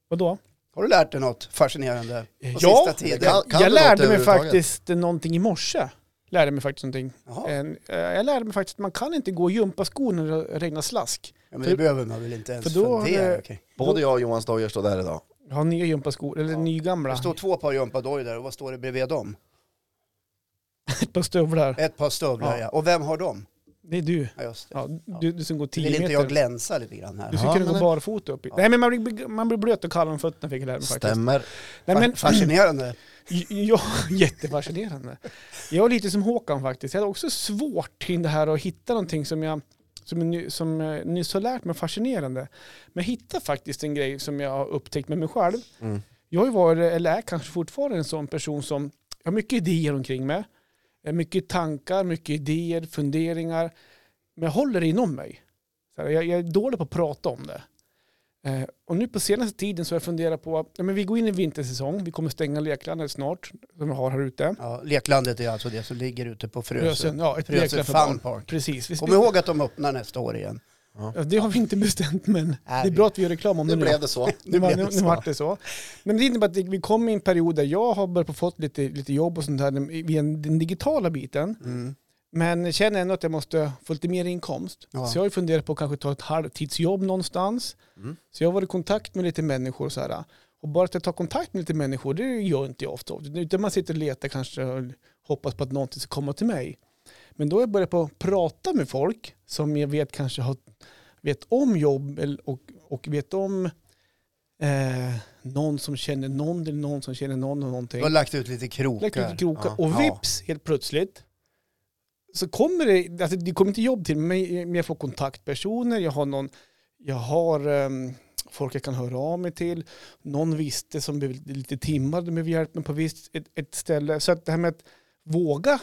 [SPEAKER 2] Vadå?
[SPEAKER 1] Har du lärt dig något fascinerande på
[SPEAKER 2] Ja,
[SPEAKER 1] sista tiden?
[SPEAKER 3] det kan-
[SPEAKER 2] Jag,
[SPEAKER 3] du något
[SPEAKER 2] lärde mig
[SPEAKER 3] överhuvudtaget?
[SPEAKER 2] faktiskt någonting i morse. Lärde mig faktiskt någonting.
[SPEAKER 1] Jaha.
[SPEAKER 2] En, eh, jag lärde mig faktiskt att man kan inte gå i gympaskor när det regnar slask.
[SPEAKER 1] Ja, men det behöver man väl inte ens
[SPEAKER 2] för då har
[SPEAKER 1] fundera
[SPEAKER 2] det-
[SPEAKER 1] okej.
[SPEAKER 3] Både jag och Johan Stojer står där idag.
[SPEAKER 2] Jag har nya gympaskor, eller nygamla.
[SPEAKER 1] Det står två par gympadojor där och vad står det bredvid dem?
[SPEAKER 2] Ett par stövlar.
[SPEAKER 1] Ett par stövlar,
[SPEAKER 2] Ja.
[SPEAKER 1] ja. Och vem har dem?
[SPEAKER 2] Det är du.
[SPEAKER 1] Ja, just det.
[SPEAKER 2] Ja, du, du som går 10
[SPEAKER 1] Vill
[SPEAKER 2] meter.
[SPEAKER 1] inte jag glänsa lite grann här?
[SPEAKER 2] Du skulle
[SPEAKER 3] Ja,
[SPEAKER 2] kunna
[SPEAKER 3] men
[SPEAKER 2] gå
[SPEAKER 3] det-
[SPEAKER 2] barfota upp. i- Nej men man blir, man blir blöt och kall om fötterna fick jag lära mig faktiskt.
[SPEAKER 3] Stämmer.
[SPEAKER 2] Nej, men,
[SPEAKER 1] Fa- Fascinerande.
[SPEAKER 2] ja, jättefascinerande. Jag är lite som Håkan faktiskt. Jag hade också svårt kring det här att hitta någonting som jag som, jag ny- som jag nyss har lärt mig fascinerande. Men jag hittade faktiskt en grej som jag har upptäckt med mig själv.
[SPEAKER 3] Mm.
[SPEAKER 2] Jag har ju varit, eller är kanske fortfarande en sån person som jag har mycket idéer omkring mig. Jag har Mycket tankar, mycket idéer, funderingar. Men jag håller det inom mig. Så här, Jag, jag är dålig på att prata om det. Eh, och nu på senaste tiden så har jag funderat på att ja, men vi går in i vintersäsong. Vi kommer stänga leklandet snart, som vi har här ute.
[SPEAKER 1] Ja, leklandet är alltså det som ligger ute på Frösön.
[SPEAKER 2] ja, ett
[SPEAKER 1] Frösön
[SPEAKER 2] lekland för barn.
[SPEAKER 1] Fun Park.
[SPEAKER 2] Precis. Vi
[SPEAKER 1] Kom ihåg att de öppnar nästa år igen.
[SPEAKER 2] Ja, Det har vi inte bestämt, men
[SPEAKER 1] Nej,
[SPEAKER 2] det är
[SPEAKER 1] vi-
[SPEAKER 2] bra att vi gör reklam om
[SPEAKER 3] Nu
[SPEAKER 2] det
[SPEAKER 3] blev det så.
[SPEAKER 2] Nu, var,
[SPEAKER 1] blev
[SPEAKER 2] nu,
[SPEAKER 1] det
[SPEAKER 2] nu
[SPEAKER 1] så.
[SPEAKER 2] vart det så. Men det innebär att vi kom i en period där jag har börjat på fått lite, lite jobb och sånt här via den digitala biten. Men känner ändå att jag måste få lite mer inkomst.
[SPEAKER 1] Ja.
[SPEAKER 2] Så jag har ju funderat på att kanske ta ett halvtidsjobb någonstans. Så jag har varit i kontakt med lite människor och så här. Och bara att jag tar kontakt med lite människor, det gör inte jag ofta. Utan man sitter och letar kanske och hoppas på att någonting ska komma till mig. Men då har jag börjat på att prata med folk som jag vet kanske har, vet om jobb eller- och, och vet om eh, någon som känner någon eller någon som känner någon och någonting.
[SPEAKER 1] Du har lagt ut lite
[SPEAKER 2] Lagt
[SPEAKER 1] krokar.
[SPEAKER 2] lite krokar.
[SPEAKER 3] eh, Ja.
[SPEAKER 2] Och vips, helt plötsligt, så kommer det, alltså det kommer inte jobb till mig, men jag får kontaktpersoner, jag har någon, jag har ehm, folk jag kan höra av mig till, någon visste som behöver lite timmar, de behöver hjälp med på visst ett, ett ställe. Så att det här med att våga,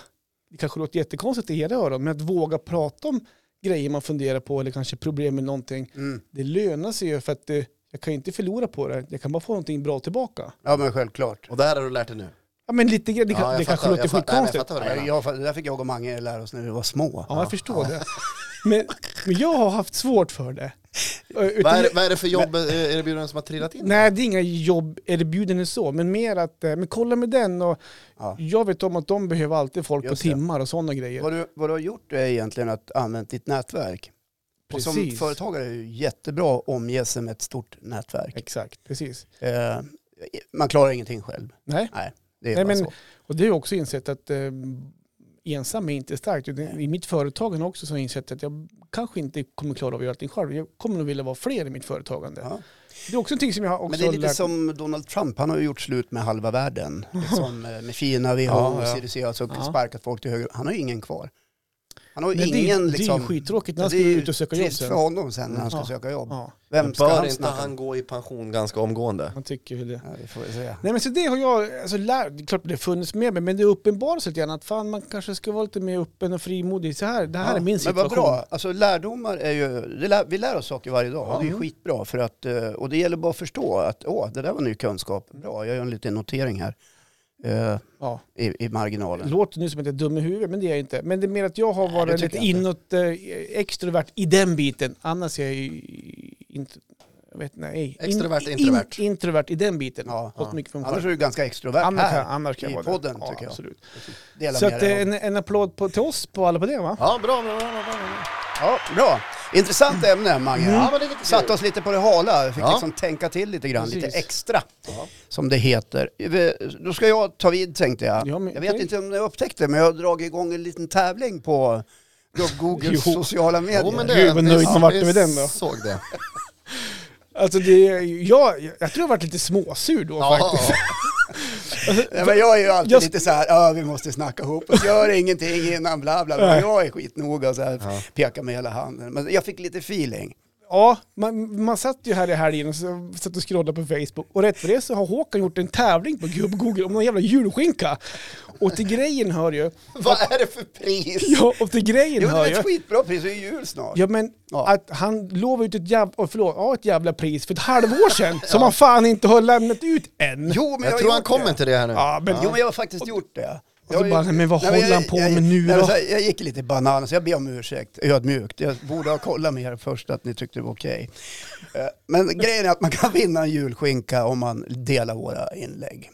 [SPEAKER 2] det kanske låter jättekonstigt i era öron, men att våga prata om grejer man funderar på eller kanske problem med någonting,
[SPEAKER 1] Mm.
[SPEAKER 2] det lönar sig ju för att eh, jag kan ju inte förlora på det, jag kan bara få någonting bra tillbaka.
[SPEAKER 1] Ja, men självklart.
[SPEAKER 3] Och det här har du lärt dig nu.
[SPEAKER 2] Ja men lite grann, det, kan,
[SPEAKER 3] Ja, jag
[SPEAKER 2] det kanske
[SPEAKER 3] fattar,
[SPEAKER 2] låter
[SPEAKER 3] jag fattar, nej, men
[SPEAKER 2] skitkonstigt.
[SPEAKER 3] jag fattar vad du
[SPEAKER 1] Nej,
[SPEAKER 3] menar.
[SPEAKER 1] jag, det där fick jag och Mange lära oss när vi var små.
[SPEAKER 2] Ja, jag förstår det. Men, men jag har haft svårt för det. Ö,
[SPEAKER 3] Vad
[SPEAKER 2] Utan,
[SPEAKER 3] är, vad är det för jobb eh, erbjudanden som har trillat in?
[SPEAKER 2] nej, det är inga jobberbjudanden så, men mer att eh, men kolla med den och
[SPEAKER 1] Ja.
[SPEAKER 2] jag vet om att de behöver alltid folk
[SPEAKER 1] Just
[SPEAKER 2] på
[SPEAKER 1] det.
[SPEAKER 2] timmar och sådana grejer.
[SPEAKER 1] Vad, du, vad du har gjort är egentligen att använt ditt nätverk. Och som
[SPEAKER 2] Precis.
[SPEAKER 1] företagare är det ju jättebra att omge sig med ett stort nätverk.
[SPEAKER 2] Exakt, precis.
[SPEAKER 1] Eh, man klarar ingenting själv.
[SPEAKER 2] Nej,
[SPEAKER 1] Det är
[SPEAKER 2] Nej,
[SPEAKER 1] bara
[SPEAKER 2] men-
[SPEAKER 1] så.
[SPEAKER 2] och det har jag också insett att eh, ensam är inte starkt. Utan I mitt företagande också så har jag insett att jag kanske inte kommer klara av att göra allting själv. Jag kommer nog vilja vara fler i mitt företagande.
[SPEAKER 1] Ja.
[SPEAKER 2] Det är också någonting som jag också
[SPEAKER 1] Men det är
[SPEAKER 2] har
[SPEAKER 1] lite
[SPEAKER 2] lärt
[SPEAKER 1] som Donald Trump, han har ju gjort slut med halva världen. Liksom, eh, med Kina, WHO,
[SPEAKER 2] Ja, ja.
[SPEAKER 1] CDC, alltså
[SPEAKER 2] Ja.
[SPEAKER 1] sparkat folk till höger. Han har ju ingen kvar. Han har ju
[SPEAKER 2] Men det, är,
[SPEAKER 1] ingen liksom...
[SPEAKER 2] det är ju skittråkigt när
[SPEAKER 1] Ja,
[SPEAKER 2] han
[SPEAKER 1] det
[SPEAKER 2] ska
[SPEAKER 1] är ju
[SPEAKER 2] ut och söka jobb
[SPEAKER 1] trist för
[SPEAKER 2] sen.
[SPEAKER 1] honom sen när han ska
[SPEAKER 2] Ja.
[SPEAKER 1] söka jobb.
[SPEAKER 2] Ja,
[SPEAKER 1] Vem ska
[SPEAKER 3] Bör
[SPEAKER 1] han
[SPEAKER 3] inte
[SPEAKER 1] snacka
[SPEAKER 3] han
[SPEAKER 1] med?
[SPEAKER 3] gå i pension ganska omgående?
[SPEAKER 2] man tycker ju det.
[SPEAKER 1] Ja, det får vi se.
[SPEAKER 2] Nej men så det har jag alltså, lärt, det är klart det har funnits med mig, men det uppenbaras lite grann att fan man kanske ska vara lite mer öppen och frimodig. Så här, det här
[SPEAKER 1] Ja,
[SPEAKER 2] är min situation.
[SPEAKER 1] Men vad bra, alltså lärdomar är ju, det lär, vi lär oss saker varje dag och det är
[SPEAKER 2] Mm.
[SPEAKER 1] skitbra för att, eh, och det gäller bara att förstå att åh, det där var ny kunskap, bra, jag gör en liten notering här eh,
[SPEAKER 2] Ja,
[SPEAKER 1] i, i
[SPEAKER 2] det
[SPEAKER 1] marginalen.
[SPEAKER 2] låter nu som att jag är dum i huvudet, men det är jag inte. Men det är mer att jag har
[SPEAKER 1] Nej,
[SPEAKER 2] varit
[SPEAKER 1] det tycker
[SPEAKER 2] lite
[SPEAKER 1] jag inte.
[SPEAKER 2] inåt, eh, extrovert i den biten. Annars är jag ju inte, jag vet nej. In-
[SPEAKER 3] Extrovert, introvert.
[SPEAKER 2] In, introvert i den biten.
[SPEAKER 1] Ja,
[SPEAKER 2] Fått
[SPEAKER 3] ja.
[SPEAKER 2] mycket från
[SPEAKER 1] Annars
[SPEAKER 2] själv.
[SPEAKER 1] är du ganska extrovert
[SPEAKER 2] Annars, kan-
[SPEAKER 1] här.
[SPEAKER 2] annars kan
[SPEAKER 1] i
[SPEAKER 2] jag vara det.
[SPEAKER 1] podden, tycker jag.
[SPEAKER 2] Absolut.
[SPEAKER 1] Dela
[SPEAKER 2] Så
[SPEAKER 1] med
[SPEAKER 2] att,
[SPEAKER 1] dig
[SPEAKER 2] eh,
[SPEAKER 1] av.
[SPEAKER 2] en, en applåd på, till oss på alla på det va?
[SPEAKER 3] Ja, bra, bra, bra, bra, bra.
[SPEAKER 1] Ja, bra. Intressant ämne, Mange.
[SPEAKER 2] Mm.
[SPEAKER 3] Ja, men det är lite kul.
[SPEAKER 1] Satt oss lite på det hala, fick
[SPEAKER 3] Ja.
[SPEAKER 1] liksom tänka till lite grann, lite
[SPEAKER 2] Precis.
[SPEAKER 1] extra,
[SPEAKER 3] Ja.
[SPEAKER 1] som det heter. Vi- Då ska jag ta vid, tänkte jag.
[SPEAKER 2] Ja, men-
[SPEAKER 1] jag vet inte om ni upptäckte, men jag har dragit igång en liten tävling på Googles
[SPEAKER 2] Jo.
[SPEAKER 1] sociala medier.
[SPEAKER 3] Jo, men
[SPEAKER 2] Gud,
[SPEAKER 3] det,
[SPEAKER 2] vad
[SPEAKER 3] vi-
[SPEAKER 2] nöjd man vart
[SPEAKER 3] vi
[SPEAKER 2] över den då.
[SPEAKER 3] såg det.
[SPEAKER 2] Alltså det, är ju- jag, jag tror jag varit lite småsur då faktiskt.
[SPEAKER 3] Ja,
[SPEAKER 1] Ja, men jag är ju alltid
[SPEAKER 2] Jag-
[SPEAKER 1] lite så här, ja vi måste snacka ihop oss, gör ingenting innan, bla bla bla.
[SPEAKER 2] Nej.
[SPEAKER 1] Jag är skitnoga och så här, pekar med hela handen. Men jag fick lite feeling.
[SPEAKER 2] Ja, man, man satt ju här i helgen och så- satt och scrollade på Facebook och rätt för det så har Håkan gjort en tävling på Gubb-Google om någon jävla julskinka. Och till grejen hör ju,
[SPEAKER 3] vad är det för pris?
[SPEAKER 2] ja och till grejen
[SPEAKER 1] Jo, det
[SPEAKER 2] hör
[SPEAKER 1] är
[SPEAKER 2] ju,
[SPEAKER 1] ett skitbra pris, det är jul snart.
[SPEAKER 2] ja men
[SPEAKER 1] Ja.
[SPEAKER 2] att han lovade ut ett jävla, oh, förlåt, ja, ett jävla pris för ett halvår sedan som han fan inte har lämnat ut än.
[SPEAKER 1] Jo, men har
[SPEAKER 3] Jag tror
[SPEAKER 1] gjort
[SPEAKER 3] han kommer
[SPEAKER 1] det.
[SPEAKER 3] till det här nu.
[SPEAKER 2] Ja, men,
[SPEAKER 1] Jo, men jag har faktiskt gjort det.
[SPEAKER 2] så
[SPEAKER 1] Jag har
[SPEAKER 2] bara,
[SPEAKER 1] ju-
[SPEAKER 2] nej, men vad
[SPEAKER 1] Nej, men
[SPEAKER 2] håller
[SPEAKER 1] jag-
[SPEAKER 2] han på
[SPEAKER 1] jag-
[SPEAKER 2] med nu
[SPEAKER 1] nej, men
[SPEAKER 2] då?
[SPEAKER 1] så här, Jag gick lite banan, så jag ber om ursäkt, ödmjukt. Jag borde ha kollat med er först att ni tyckte det var okej. Eh, Men grejen är att man kan vinna en julskinka om man delar våra inlägg.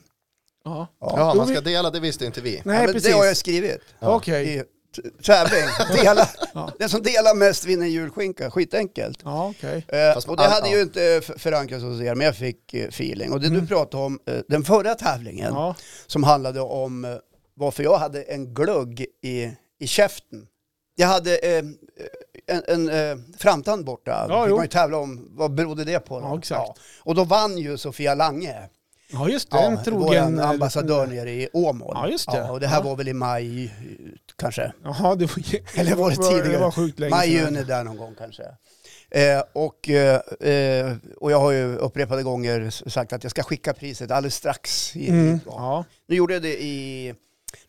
[SPEAKER 2] ja.
[SPEAKER 3] Ja, man ska
[SPEAKER 2] Jo,
[SPEAKER 3] dela, det visste inte vi.
[SPEAKER 1] Ja,
[SPEAKER 2] Nej
[SPEAKER 1] men
[SPEAKER 2] precis.
[SPEAKER 1] Det har jag skrivit.
[SPEAKER 2] Okej.
[SPEAKER 1] I t- tävling. Dela.
[SPEAKER 2] Ja.
[SPEAKER 1] Den som delar mest vinner julskinka, skitenkelt.
[SPEAKER 2] Ja, okej.
[SPEAKER 1] Eh,
[SPEAKER 3] Fast
[SPEAKER 1] och det
[SPEAKER 3] all-
[SPEAKER 1] hade
[SPEAKER 3] ja.
[SPEAKER 1] ju inte eh, f- förankrats hos er, men jag fick eh, feeling. Och det du pratade om, eh, den förra tävlingen,
[SPEAKER 2] Mm. Ja.
[SPEAKER 1] som handlade om eh, varför jag hade en glugg i, i käften. Jag hade eh, en, en eh, framtand borta.
[SPEAKER 2] Ja,
[SPEAKER 1] Ja, fick
[SPEAKER 2] jo.
[SPEAKER 1] man ju tävla om. Vad berodde det på? då?
[SPEAKER 2] Ja, exakt.
[SPEAKER 1] Och då vann ju Sofia Lange.
[SPEAKER 2] Ja just det,
[SPEAKER 1] Ja,
[SPEAKER 2] en trogen... eh,
[SPEAKER 1] vår ambassadör nere i Åmål.
[SPEAKER 2] Ja, just det.
[SPEAKER 1] och det här
[SPEAKER 2] Ja.
[SPEAKER 1] var väl i maj, eh, kanske.
[SPEAKER 2] Jaha, det var,
[SPEAKER 1] Eller var det tidigare?
[SPEAKER 2] Det var sjukt länge
[SPEAKER 1] Maj,
[SPEAKER 2] sedan.
[SPEAKER 1] juni där någon gång kanske. Eh, och, eh, eh, och jag har ju upprepade gånger s- sagt att jag ska skicka priset alldeles strax. I,
[SPEAKER 2] Mm.
[SPEAKER 1] ja.
[SPEAKER 2] Ja.
[SPEAKER 1] Nu gjorde jag det i,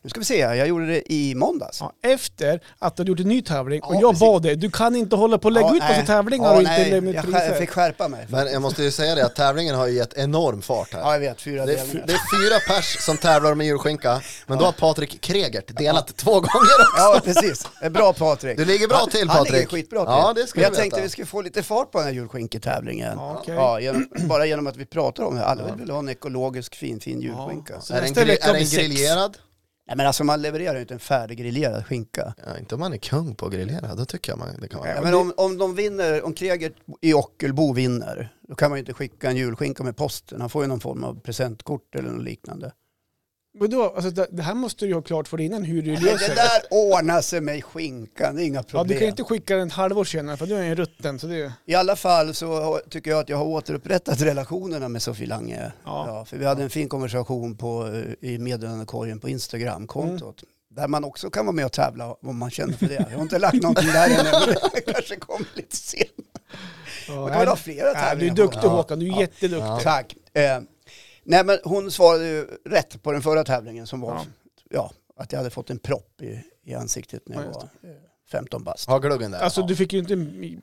[SPEAKER 1] nu ska vi se, här, jag gjorde det i måndags.
[SPEAKER 2] Ja, efter att du hade gjort en ny tävling och
[SPEAKER 1] Ja,
[SPEAKER 2] jag
[SPEAKER 1] precis.
[SPEAKER 2] bad dig, du kan inte hålla på och lägga ut massa
[SPEAKER 1] nej.
[SPEAKER 2] tävlingar
[SPEAKER 1] Ja,
[SPEAKER 2] och inte
[SPEAKER 1] nej,
[SPEAKER 2] lämna ut
[SPEAKER 1] jag, skär- jag
[SPEAKER 2] priser.
[SPEAKER 1] fick skärpa mig.
[SPEAKER 3] Men jag måste ju säga det att tävlingen har ju gett enorm fart här.
[SPEAKER 1] Ja, jag vet, fyra
[SPEAKER 3] Det är, fy-
[SPEAKER 1] delningar.
[SPEAKER 3] det är fyra pers som tävlar med julskinka, men då har Patrik Kregert delat två gånger också.
[SPEAKER 1] Ja, precis. Det är Bra Patrik.
[SPEAKER 3] Du ligger bra
[SPEAKER 1] han,
[SPEAKER 3] till,
[SPEAKER 1] Han ligger
[SPEAKER 3] Patrik.
[SPEAKER 1] skitbra till.
[SPEAKER 3] Ja, det ska
[SPEAKER 1] Men jag
[SPEAKER 3] du veta.
[SPEAKER 1] tänkte vi skulle få lite fart på den här julskinketävlingen.
[SPEAKER 2] Ja, okej.
[SPEAKER 1] Ja, genom, bara genom att vi pratar om det. Alla vill väl ha en ekologisk fin, fin julskinka.
[SPEAKER 2] Ja. Så
[SPEAKER 3] Är den,
[SPEAKER 2] nästa
[SPEAKER 3] gri-
[SPEAKER 2] vecka
[SPEAKER 3] är den
[SPEAKER 2] blir sex.
[SPEAKER 3] grillerad?
[SPEAKER 1] Nej men alltså man levererar ju inte en färdiggrillerad skinka.
[SPEAKER 3] Ja, inte om man är kung på att grillera, då tycker jag man det kan vara.
[SPEAKER 1] Ja, men om, om de vinner, om Kreger i Ockelbo vinner, då kan man ju inte skicka en julskinka med posten. Han får ju någon form av presentkort eller något liknande.
[SPEAKER 2] Men då, alltså, det det här måste du ju ha klart för dig innan hur du
[SPEAKER 1] Men
[SPEAKER 2] löser
[SPEAKER 1] det
[SPEAKER 2] det.
[SPEAKER 1] där ordnar sig med skinkan, det är inga
[SPEAKER 2] Ja,
[SPEAKER 1] problem.
[SPEAKER 2] du kan ju inte skicka den ett halvår senare för du är ju rutten. Så det,
[SPEAKER 1] I alla fall så har- tycker jag att jag har återupprättat relationerna med Sofie Lange.
[SPEAKER 2] Ja.
[SPEAKER 1] för vi hade en fin konversation på, eh, i meddelandekorgen på Instagram-kontot.
[SPEAKER 2] Mm.
[SPEAKER 1] Där man också kan vara med och tävla om man känner för det. Jag har inte lagt någonting där ännu, men det kanske kommer lite senare.
[SPEAKER 2] ja,
[SPEAKER 1] Man kan väl ha flera
[SPEAKER 2] ja, du är
[SPEAKER 1] tävlingar.
[SPEAKER 2] duktig
[SPEAKER 1] på det.
[SPEAKER 2] Håkan, du är
[SPEAKER 1] Ja.
[SPEAKER 2] jätteduktig.
[SPEAKER 3] Ja.
[SPEAKER 1] Tack. Eh, nej men hon svarade ju rätt på den förra tävlingen som var
[SPEAKER 2] Ja.
[SPEAKER 1] ja. att jag hade fått en propp i, i ansiktet när jag
[SPEAKER 2] Ja, just
[SPEAKER 1] var eh, 15 bast.
[SPEAKER 3] Ha gluggen där.
[SPEAKER 2] Alltså
[SPEAKER 3] Ja.
[SPEAKER 2] du fick ju inte...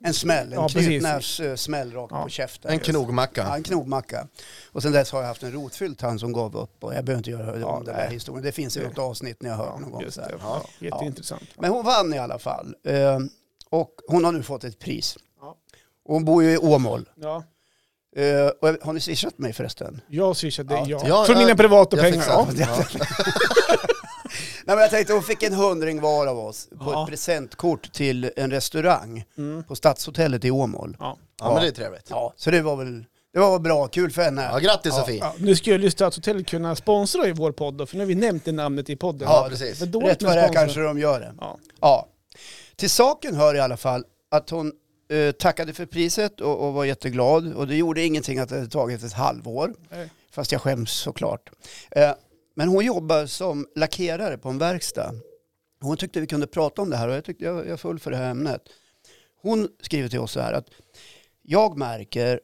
[SPEAKER 1] En smäll, en
[SPEAKER 2] Ja, precis.
[SPEAKER 1] knytnävssmäll rakt
[SPEAKER 2] Ja.
[SPEAKER 1] på käften.
[SPEAKER 3] En
[SPEAKER 1] Ja,
[SPEAKER 3] knogmacka.
[SPEAKER 1] en knogmacka. Och sen dess har jag haft en rotfylld tand som gav upp. Och jag behöver inte göra
[SPEAKER 2] Ja,
[SPEAKER 1] om den
[SPEAKER 2] nej.
[SPEAKER 1] där historien. Det finns i något avsnitt när jag hört någon gång.
[SPEAKER 2] just
[SPEAKER 1] så här.
[SPEAKER 2] det. Ja, jätteintressant.
[SPEAKER 1] Men hon vann i alla fall. Eh, och hon har nu fått ett pris.
[SPEAKER 2] Ja.
[SPEAKER 1] Och hon bor ju i Åmål.
[SPEAKER 2] Ja.
[SPEAKER 1] Eh, och jag- har ni swishat mig förresten?
[SPEAKER 2] Jag swishade dig, ja.
[SPEAKER 3] Ja,
[SPEAKER 2] Från
[SPEAKER 3] ja,
[SPEAKER 2] mina privata
[SPEAKER 3] jag
[SPEAKER 2] pengar.
[SPEAKER 3] fixar
[SPEAKER 2] Ja.
[SPEAKER 3] det. Ja.
[SPEAKER 1] Nej, men jag tänkte hon fick en hundring var av oss på
[SPEAKER 2] Ja.
[SPEAKER 1] ett presentkort till en restaurang
[SPEAKER 2] Mm.
[SPEAKER 1] på Stadshotellet i Åmål.
[SPEAKER 2] Ja.
[SPEAKER 3] ja, men det är trevligt.
[SPEAKER 1] Ja, så det var väl det var väl bra, kul för henne.
[SPEAKER 3] Ja, grattis
[SPEAKER 1] Ja.
[SPEAKER 3] Sofie.
[SPEAKER 2] Ja, nu skulle ju Stadshotellet kunna sponsra i vår podd då, för nu har vi nämnt det namnet i podden.
[SPEAKER 3] Ja, precis.
[SPEAKER 2] Men dåligt
[SPEAKER 1] Rätt
[SPEAKER 2] med
[SPEAKER 1] vad det är
[SPEAKER 2] sponsor.
[SPEAKER 1] kanske de gör det.
[SPEAKER 2] Ja.
[SPEAKER 1] Ja. Till saken hör i alla fall att hon eh, tackade för priset och, och var jätteglad. Och det gjorde ingenting att det hade tagit ett halvår.
[SPEAKER 2] Nej.
[SPEAKER 1] Fast jag skäms såklart. Eh, men hon jobbar som lackerare på en verkstad. Hon tyckte vi kunde prata om det här och jag, tyckte, jag, jag föll för det här ämnet. Hon skriver till oss så här att jag märker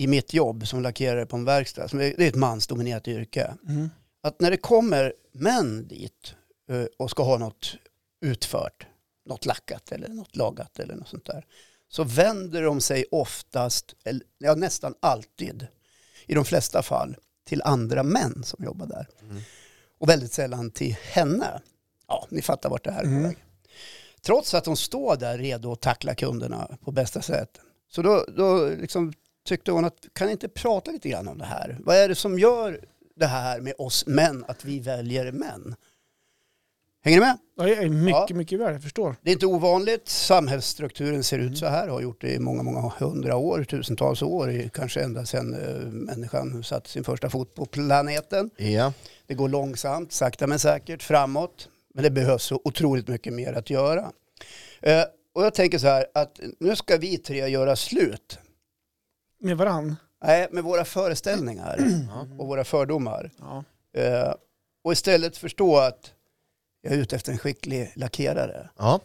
[SPEAKER 1] i mitt jobb som lackerare på en verkstad, som är, det är ett mansdominerat yrke,
[SPEAKER 2] Mm.
[SPEAKER 1] att när det kommer män dit eh, och ska ha något utfört, något lackat eller något lagat eller något sånt där, så vänder de sig oftast, eller, ja nästan alltid, i de flesta fall, till andra män som jobbar där. Och väldigt sällan till henne. Ja, ni fattar vart det här är på väg. Trots att de står där redo att tackla kunderna på bästa sätt. Så då, då liksom tyckte hon att, kan ni inte prata lite grann om det här? Vad är det som gör det här med oss män, att vi väljer män? Hänger ni med?
[SPEAKER 2] Ja, jag är mycket,
[SPEAKER 1] Ja.
[SPEAKER 2] mycket väl, jag förstår.
[SPEAKER 1] Det är inte ovanligt. Samhällsstrukturen ser ut så här. Har gjort det i många, många hundra år, tusentals år. i- Kanske ända sedan eh, människan satte sin första fot på planeten.
[SPEAKER 3] Ja.
[SPEAKER 1] Det går långsamt, sakta men säkert framåt. Men det behövs så otroligt mycket mer att göra. Eh, och jag tänker så här att nu ska vi tre göra slut.
[SPEAKER 2] Med varann.
[SPEAKER 1] Nej, med våra föreställningar och våra fördomar.
[SPEAKER 2] Ja.
[SPEAKER 1] Eh, och istället förstå att jag är ute efter en skicklig lackerare.
[SPEAKER 3] Ja,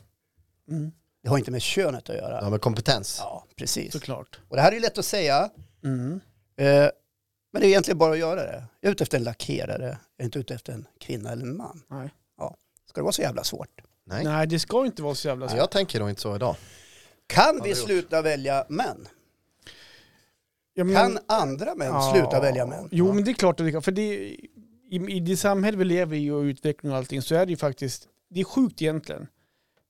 [SPEAKER 2] Mm.
[SPEAKER 1] Det har inte med könet att göra.
[SPEAKER 3] ja med kompetens.
[SPEAKER 1] Ja, precis.
[SPEAKER 2] Såklart.
[SPEAKER 1] Och det här är ju lätt att säga,
[SPEAKER 2] Mm.
[SPEAKER 1] eh, men det är egentligen bara att göra det. Jag är ute efter en lackerare, jag är inte ute efter en kvinna eller en man.
[SPEAKER 2] Nej.
[SPEAKER 1] Ja. Ska det vara så jävla svårt?
[SPEAKER 3] Nej.
[SPEAKER 2] Nej, det ska inte vara så jävla
[SPEAKER 3] Ja,
[SPEAKER 2] svårt.
[SPEAKER 3] Jag tänker nog inte så idag.
[SPEAKER 1] Kan vi
[SPEAKER 3] det är gjort.
[SPEAKER 1] sluta välja män?
[SPEAKER 2] Ja, men-
[SPEAKER 1] Kan andra män
[SPEAKER 2] Mm. Ja.
[SPEAKER 1] sluta välja män?
[SPEAKER 2] Jo,
[SPEAKER 3] Ja.
[SPEAKER 2] men det är klart att det kan. För det, i, i det samhälle vi lever i och utveckling och allting så är det ju faktiskt, det är sjukt egentligen.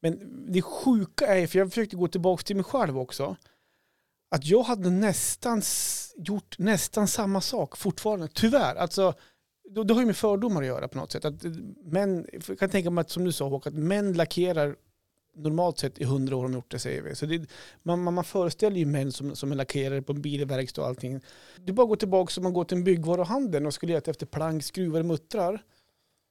[SPEAKER 2] Men det sjuka är, för jag försökte gå tillbaka till mig själv också, att jag hade nästan s- gjort nästan samma sak fortfarande, tyvärr. Alltså, det, det har ju med fördomar att göra på något sätt. Att eh, män, för jag kan tänka mig att, som du sa Håkan, att män lackerar normalt sett i hundra år om de gjort det, säger vi. Så det, man, man, man föreställer ju män som, som är lackerare på en bilverkstad och allting. Du bara går tillbaka som man går till en byggvaruhandel och skulle leta efter plank, skruvar, muttrar.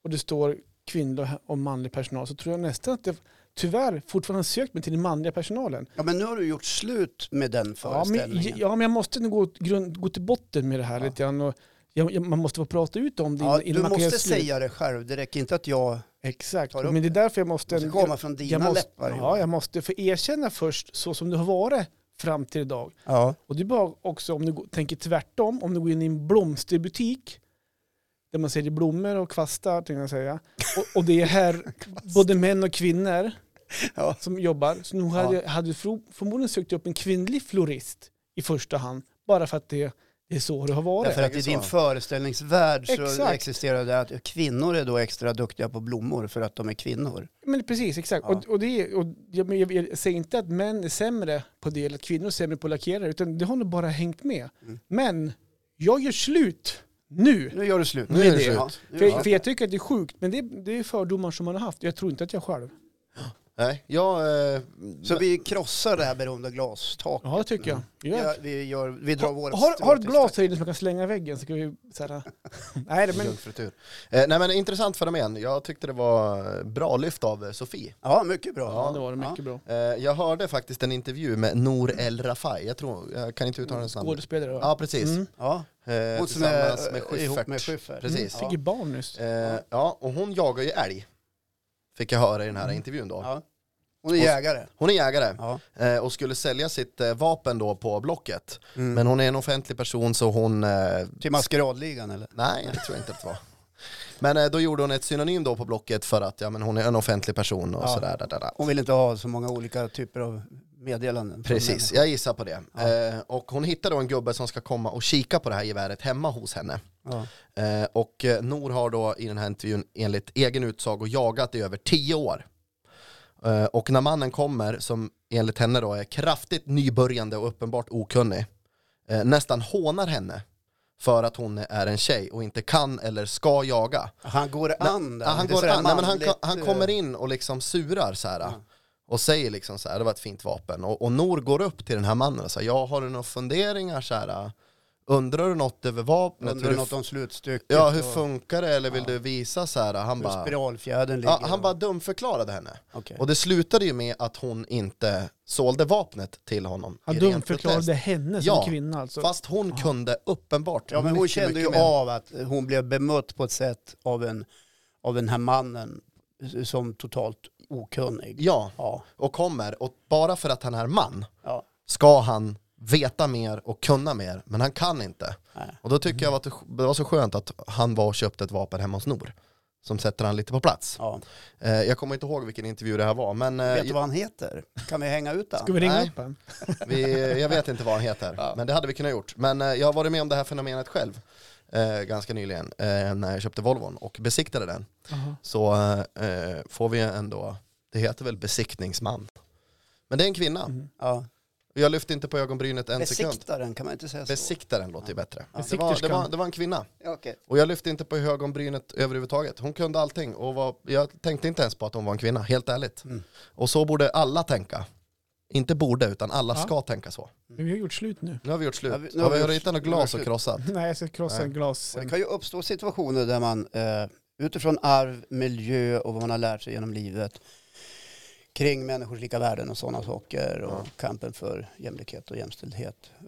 [SPEAKER 2] Och det står kvinnlig och manlig personal så tror jag nästan att jag tyvärr fortfarande sökt mig till den manliga personalen.
[SPEAKER 1] Ja, men nu har du gjort slut med den
[SPEAKER 2] Ja men,
[SPEAKER 1] föreställningen.
[SPEAKER 2] ja, men jag måste nog gå, grund, gå till botten med det här
[SPEAKER 1] Ja.
[SPEAKER 2] lite grann. Och jag, jag, man måste få prata ut om det
[SPEAKER 1] Ja,
[SPEAKER 2] innan
[SPEAKER 1] du
[SPEAKER 2] man kan göra
[SPEAKER 1] måste
[SPEAKER 2] slut.
[SPEAKER 1] säga det själv. Det räcker inte att jag...
[SPEAKER 2] Exakt,
[SPEAKER 1] tar upp
[SPEAKER 2] men det är därför jag måste...
[SPEAKER 1] Det ska komma från dina
[SPEAKER 2] jag måste,
[SPEAKER 1] läppar.
[SPEAKER 2] Ja, jag måste få erkänna först så som det har varit fram till idag.
[SPEAKER 1] ja.
[SPEAKER 2] Och det är bara också om du går- tänker tvärtom, om du går in i en blomsterbutik där man säljer blommor och kvastar, tänkte jag säga. Och, och det är här både män och kvinnor
[SPEAKER 1] Ja.
[SPEAKER 2] som jobbar. Så nu hade, jag- hade du fro- förmodligen sökt upp en kvinnlig florist i första hand, bara för att det, det är så det har varit.
[SPEAKER 1] Därför att i
[SPEAKER 3] så.
[SPEAKER 1] din föreställningsvärld så
[SPEAKER 2] Exakt.
[SPEAKER 1] existerar det att kvinnor är då extra duktiga på blommor för att de är kvinnor.
[SPEAKER 2] Men precis, exakt.
[SPEAKER 1] Ja.
[SPEAKER 2] Och, och det, är- och jag, men jag, jag säger inte att män är sämre på det eller att kvinnor är sämre på att lackera, utan det har nog bara hängt med.
[SPEAKER 1] Mm.
[SPEAKER 2] Men jag gör slut nu.
[SPEAKER 1] Nu gör du slut.
[SPEAKER 3] Nu är det
[SPEAKER 1] det.
[SPEAKER 3] slut.
[SPEAKER 1] Ja, nu
[SPEAKER 2] För,
[SPEAKER 1] är det
[SPEAKER 2] för jag tycker att det är sjukt, men det, det är fördomar som man har haft. Jag tror inte att jag själv.
[SPEAKER 3] Nej, jag... Eh,
[SPEAKER 1] slut. Så vi krossar det här beroende glastaket.
[SPEAKER 2] Ja, det tycker jag. Gör
[SPEAKER 1] Ja,
[SPEAKER 2] det.
[SPEAKER 1] vi, gör, vi drar vårt
[SPEAKER 2] Har,
[SPEAKER 1] strå
[SPEAKER 2] har ett
[SPEAKER 1] till
[SPEAKER 2] glas
[SPEAKER 1] stacken.
[SPEAKER 2] här inne som jag kan slänga i väggen så kan vi så här, Nej, det- men
[SPEAKER 3] Jungfrutur. Eh, nej men intressant fenomen. Jag tyckte det var bra lyft av eh, Sofie.
[SPEAKER 1] Ja, mycket bra.
[SPEAKER 2] ja, det var det mycket bra.
[SPEAKER 3] Eh, jag hörde faktiskt en intervju med Nour El Rafai. Jag tror, jag kan inte uttala hennes namn.
[SPEAKER 2] Skådespelare.
[SPEAKER 3] Ja, precis.
[SPEAKER 2] Mm.
[SPEAKER 1] Ja.
[SPEAKER 3] Eh,
[SPEAKER 1] Hon som är,
[SPEAKER 3] tillsammans med
[SPEAKER 1] eh, ihop
[SPEAKER 3] Schyffert.
[SPEAKER 1] med Schyffert. Mm,
[SPEAKER 3] Precis.
[SPEAKER 2] Fick ju barn nyss.
[SPEAKER 3] Eh, ja, och hon jagar ju älg. Fick jag höra i den här
[SPEAKER 1] Mm.
[SPEAKER 3] intervjun då.
[SPEAKER 1] Ja. Hon är jägare.
[SPEAKER 3] Hon är jägare
[SPEAKER 1] Ja.
[SPEAKER 3] eh, och skulle sälja sitt eh, vapen då på Blocket.
[SPEAKER 1] Mm.
[SPEAKER 3] Men hon är en offentlig person så hon... Eh,
[SPEAKER 1] Till maskeradligan eller?
[SPEAKER 3] nej, det tror jag inte att det var. Men eh, då gjorde hon ett synonym då på Blocket för att ja, men hon är en offentlig person och
[SPEAKER 1] Ja.
[SPEAKER 3] sådär. Där, där, där.
[SPEAKER 1] Hon vill inte ha så många olika typer av meddelanden. från
[SPEAKER 3] Precis,
[SPEAKER 1] människor.
[SPEAKER 3] jag gissar på det. Eh, och hon hittar då en gubbe som ska komma och kika på det här geväret hemma hos henne.
[SPEAKER 1] Ja.
[SPEAKER 3] Eh, och eh, Nor har då i den här intervjun enligt egen utsago jagat i över tio år. Eh, och när mannen kommer, som enligt henne då är kraftigt nybörjande och uppenbart okunnig, eh, nästan hånar henne för att hon är en tjej och inte kan eller ska jaga.
[SPEAKER 1] Han går an där.
[SPEAKER 3] Ja, han,
[SPEAKER 1] lite
[SPEAKER 3] går
[SPEAKER 1] sådär
[SPEAKER 3] an, nej, men han,
[SPEAKER 1] manligt,
[SPEAKER 3] han
[SPEAKER 1] eh, Mm.
[SPEAKER 3] kommer in och liksom surar så här. Och säger liksom så här, det var ett fint vapen. Och, och Nor går upp till den här mannen och säger, ja har du några funderingar så här? Undrar du något över vapnet?
[SPEAKER 1] Undrar
[SPEAKER 3] Hur du
[SPEAKER 1] något om slutstycket.
[SPEAKER 3] Ja, hur
[SPEAKER 1] och
[SPEAKER 3] funkar det eller vill du visa så här? Han
[SPEAKER 1] Typ hur
[SPEAKER 3] bara,
[SPEAKER 1] spiralfjädern ligger.
[SPEAKER 3] ja, han bara dumförklarade henne.
[SPEAKER 1] Okej.
[SPEAKER 3] Och det slutade ju med att hon inte sålde vapnet till honom.
[SPEAKER 2] Han
[SPEAKER 3] i ren
[SPEAKER 2] dumförklarade
[SPEAKER 3] protest.
[SPEAKER 2] henne som
[SPEAKER 3] Ja,
[SPEAKER 2] kvinna alltså.
[SPEAKER 3] Fast hon kunde uppenbart
[SPEAKER 1] Ja, men hon
[SPEAKER 3] mycket,
[SPEAKER 1] kände ju
[SPEAKER 3] mycket mer.
[SPEAKER 1] av att hon blev bemött på ett sätt av, en, av den här mannen som totalt okunnig.
[SPEAKER 3] Ja,
[SPEAKER 1] Ja.
[SPEAKER 3] och kommer. Och bara för att han är man
[SPEAKER 1] ja.
[SPEAKER 3] ska han veta mer och kunna mer, men han kan inte.
[SPEAKER 1] Nej.
[SPEAKER 3] Och då tycker jag att det- det var så skönt att han var och köpte ett vapen hemma hos Nor. Som sätter han lite på plats.
[SPEAKER 1] ja.
[SPEAKER 3] Eh, jag kommer inte ihåg vilken intervju det här var, men eh,
[SPEAKER 1] Vet du vad han heter? Kan vi hänga ut
[SPEAKER 2] Ska
[SPEAKER 1] han?
[SPEAKER 2] vi ringa
[SPEAKER 3] Nej.
[SPEAKER 2] upp honom?
[SPEAKER 3] Vi, jag vet inte vad han heter, men det hade vi kunnat gjort. Men eh, jag har varit med om det här fenomenet själv eh, ganska nyligen eh, när jag köpte Volvon och besiktade den. Så eh, eh, får vi ändå, det heter väl besiktningsman. Men det är en kvinna.
[SPEAKER 2] Mm.
[SPEAKER 1] Ja.
[SPEAKER 3] Jag lyfte inte på ögonbrynet en sekund.
[SPEAKER 1] Besiktaren, kan man inte säga så?
[SPEAKER 3] Besiktaren låter ju bättre. Det, var, det,
[SPEAKER 2] Besikterskan.
[SPEAKER 3] var, det var en kvinna.
[SPEAKER 1] Ja, Okej.
[SPEAKER 3] Och jag lyfte inte på ögonbrynet överhuvudtaget. Hon kunde allting och var, jag tänkte inte ens på att hon var en kvinna, helt ärligt.
[SPEAKER 1] Mm.
[SPEAKER 3] Och så borde alla tänka. Inte borde, utan alla
[SPEAKER 2] Ja.
[SPEAKER 3] ska tänka så.
[SPEAKER 2] Men vi har gjort slut nu.
[SPEAKER 3] Nu har vi gjort slut.
[SPEAKER 1] Ja, vi- nu
[SPEAKER 3] har
[SPEAKER 1] har
[SPEAKER 3] vi,
[SPEAKER 1] vi gjort-
[SPEAKER 3] ritat något
[SPEAKER 1] nu har vi gjort
[SPEAKER 3] glas och
[SPEAKER 1] slut.
[SPEAKER 3] krossat?
[SPEAKER 2] Nej, jag ska krossa
[SPEAKER 3] Nej.
[SPEAKER 2] en glas.
[SPEAKER 1] Och Det
[SPEAKER 2] sen.
[SPEAKER 1] kan ju uppstå situationer där man eh, utifrån arv, miljö och vad man har lärt sig genom livet kring människors lika värden och sådana saker och
[SPEAKER 3] Ja.
[SPEAKER 1] kampen för jämlikhet och jämställdhet. eh,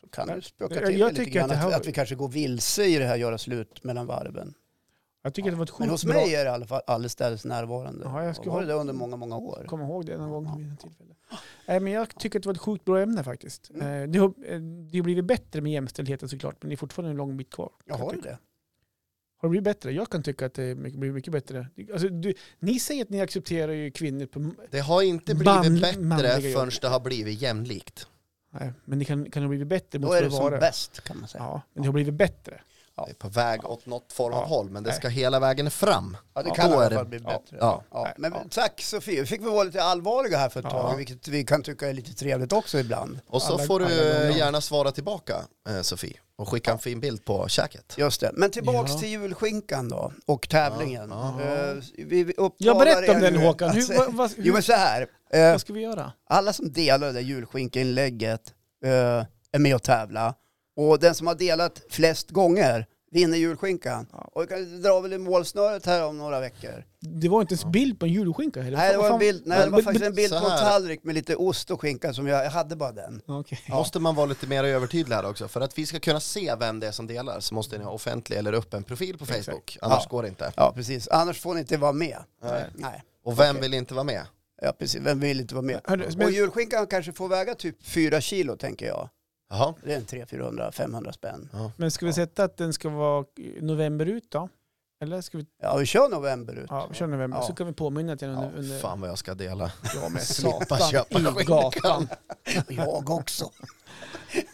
[SPEAKER 1] Så kan det spöka
[SPEAKER 2] jag-
[SPEAKER 1] till
[SPEAKER 2] jag
[SPEAKER 1] det lite
[SPEAKER 2] tycker
[SPEAKER 1] grann
[SPEAKER 2] att
[SPEAKER 1] att,
[SPEAKER 2] det här-
[SPEAKER 1] att vi kanske går vilse i det här göra slut mellan varven.
[SPEAKER 2] Jag tycker det var ett sjukt
[SPEAKER 1] Men hos
[SPEAKER 2] bra...
[SPEAKER 1] mig är det i alla fall allestädes närvarande.
[SPEAKER 2] Ja, jag ska
[SPEAKER 1] och var det
[SPEAKER 2] ha-
[SPEAKER 1] det under många, många år.
[SPEAKER 2] komma ihåg det någon gång vid något tillfälle. Nej, men jag tycker att det var ett sjukt bra ämne faktiskt.
[SPEAKER 1] Mm.
[SPEAKER 2] Eh, Det har, eh, det har blivit bättre med jämställdheten såklart, men det är fortfarande en lång bit kvar. kan
[SPEAKER 1] Jag har
[SPEAKER 2] tycka.
[SPEAKER 1] det.
[SPEAKER 2] Har det blivit bättre? Jag kan tycka att det är mycket- blir mycket bättre. Alltså, du, ni säger att ni accepterar ju kvinnor på...
[SPEAKER 3] Det har inte blivit
[SPEAKER 2] Manl- manliga
[SPEAKER 3] bättre
[SPEAKER 2] jobb.
[SPEAKER 3] förrän det har blivit jämlikt.
[SPEAKER 2] Nej, men det kan, kan det ha blivit
[SPEAKER 1] Då
[SPEAKER 2] bättre
[SPEAKER 1] är
[SPEAKER 2] mot vad
[SPEAKER 1] det
[SPEAKER 2] det
[SPEAKER 1] som
[SPEAKER 2] var.
[SPEAKER 1] bäst kan man säga.
[SPEAKER 2] Ja, men det har blivit bättre.
[SPEAKER 3] Det är på väg åt något form av
[SPEAKER 2] Ja.
[SPEAKER 3] håll, men det
[SPEAKER 2] Nej.
[SPEAKER 3] ska hela vägen fram.
[SPEAKER 1] Ja, det
[SPEAKER 3] Ja,
[SPEAKER 1] kan
[SPEAKER 3] då
[SPEAKER 1] i
[SPEAKER 3] är
[SPEAKER 1] alla
[SPEAKER 3] det-
[SPEAKER 1] fall bli
[SPEAKER 2] ja,
[SPEAKER 1] bättre.
[SPEAKER 3] ja.
[SPEAKER 1] Ja, men
[SPEAKER 2] Ja.
[SPEAKER 1] tack Sofie, fick vi vara lite allvarliga här för ett
[SPEAKER 2] Ja.
[SPEAKER 1] tag, vilket vi kan tycka är lite trevligt också ibland.
[SPEAKER 3] Och så
[SPEAKER 2] Alla-
[SPEAKER 3] får du
[SPEAKER 2] alla gånger.
[SPEAKER 3] gärna svara tillbaka, eh, Sofie, och skicka en fin bild på käket.
[SPEAKER 1] Just det. Men tillbaks
[SPEAKER 2] Ja.
[SPEAKER 1] till julskinkan då, och tävlingen.
[SPEAKER 3] Ja,
[SPEAKER 1] Eh, vi vi uppmanar
[SPEAKER 2] Jag berättar om
[SPEAKER 1] er
[SPEAKER 2] den
[SPEAKER 1] nu
[SPEAKER 2] Håkan.
[SPEAKER 1] att
[SPEAKER 2] Hur,
[SPEAKER 1] se-
[SPEAKER 2] vad, vad, hur,
[SPEAKER 1] Alltså, Jo men så här, eh,
[SPEAKER 2] vad ska vi göra?
[SPEAKER 1] alla som delar det där julskinkinlägget eh, är med och tävlar. Och den som har delat flest gånger vinner julskinkan. Och vi kan dra väl i målsnöret här om några veckor.
[SPEAKER 2] Det var inte ens bild på en julskinka heller.
[SPEAKER 1] Nej, det
[SPEAKER 2] Vad
[SPEAKER 1] var, en
[SPEAKER 2] fan-
[SPEAKER 1] bild, nej, det var
[SPEAKER 2] Men-
[SPEAKER 1] faktiskt
[SPEAKER 2] men-
[SPEAKER 1] en bild på
[SPEAKER 3] så
[SPEAKER 1] en
[SPEAKER 3] här.
[SPEAKER 1] tallrik med lite ost och skinka som jag, jag hade bara den.
[SPEAKER 2] Okej.
[SPEAKER 3] Måste man vara lite mer övertydlig här också? För att vi ska kunna se vem det är som delar så måste ni ha offentlig eller öppen profil på Facebook. Annars
[SPEAKER 1] Ja.
[SPEAKER 3] går det inte.
[SPEAKER 1] Ja, precis. Annars får ni inte vara med. Nej.
[SPEAKER 3] Och vem vill inte vara med?
[SPEAKER 1] Ja, precis. Vem vill inte vara med?
[SPEAKER 2] Hörru,
[SPEAKER 1] Och
[SPEAKER 2] men-
[SPEAKER 1] julskinkan kanske får väga typ 4 kilo, tänker jag.
[SPEAKER 3] Jaha.
[SPEAKER 1] Det är en 300, 400, 500 spänn.
[SPEAKER 2] Men ska vi sätta att den ska vara november ut då? Eller ska vi,
[SPEAKER 1] Ja, vi kör november ut.
[SPEAKER 2] ja vi kör november,
[SPEAKER 1] Ja.
[SPEAKER 2] så kan vi påminna att den
[SPEAKER 3] Ja,
[SPEAKER 2] under, under
[SPEAKER 3] fan vad jag ska dela.
[SPEAKER 2] ja, men
[SPEAKER 3] slippa
[SPEAKER 2] satan
[SPEAKER 3] köpa
[SPEAKER 2] i
[SPEAKER 3] skinka.
[SPEAKER 2] gatan.
[SPEAKER 1] Jag också.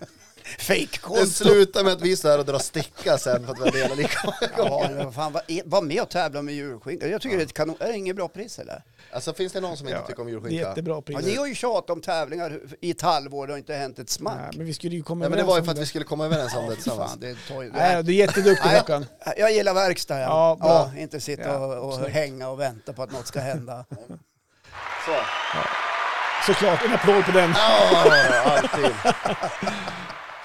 [SPEAKER 3] Det
[SPEAKER 1] Fejkkonst.
[SPEAKER 3] slutar med att vi står här och drar sticka sen för att vi har delat lika
[SPEAKER 1] Ja, men vad fan, var, var med och tävla med julskinka. Jag tycker det är ett kanon... Är det inget bra pris eller?
[SPEAKER 3] Alltså finns det någon som inte
[SPEAKER 2] Ja,
[SPEAKER 3] tycker om
[SPEAKER 2] det är
[SPEAKER 3] julskinka?
[SPEAKER 2] Jättebra pris.
[SPEAKER 1] Ja, ni har ju tjatat om tävlingar i ett halvår och det har inte hänt ett
[SPEAKER 2] Nej,
[SPEAKER 1] smack.
[SPEAKER 2] men vi skulle ju komma
[SPEAKER 3] Nej men det var ju
[SPEAKER 2] överens
[SPEAKER 3] för
[SPEAKER 2] om
[SPEAKER 3] att vi skulle komma överens om det
[SPEAKER 1] Fy
[SPEAKER 3] tillsammans.
[SPEAKER 1] fan, det tar ju...
[SPEAKER 2] Nej, du är jätteduktig
[SPEAKER 1] Nej.
[SPEAKER 2] Håkan.
[SPEAKER 1] Jag gillar verkstad. Ja.
[SPEAKER 2] Ja, bra.
[SPEAKER 1] Ja, inte sitta
[SPEAKER 2] Ja,
[SPEAKER 1] och, och
[SPEAKER 2] snyggt.
[SPEAKER 1] hänga och vänta på att något ska hända.
[SPEAKER 3] Så.
[SPEAKER 2] Såklart, en applåd på den.
[SPEAKER 3] Ja, alltid.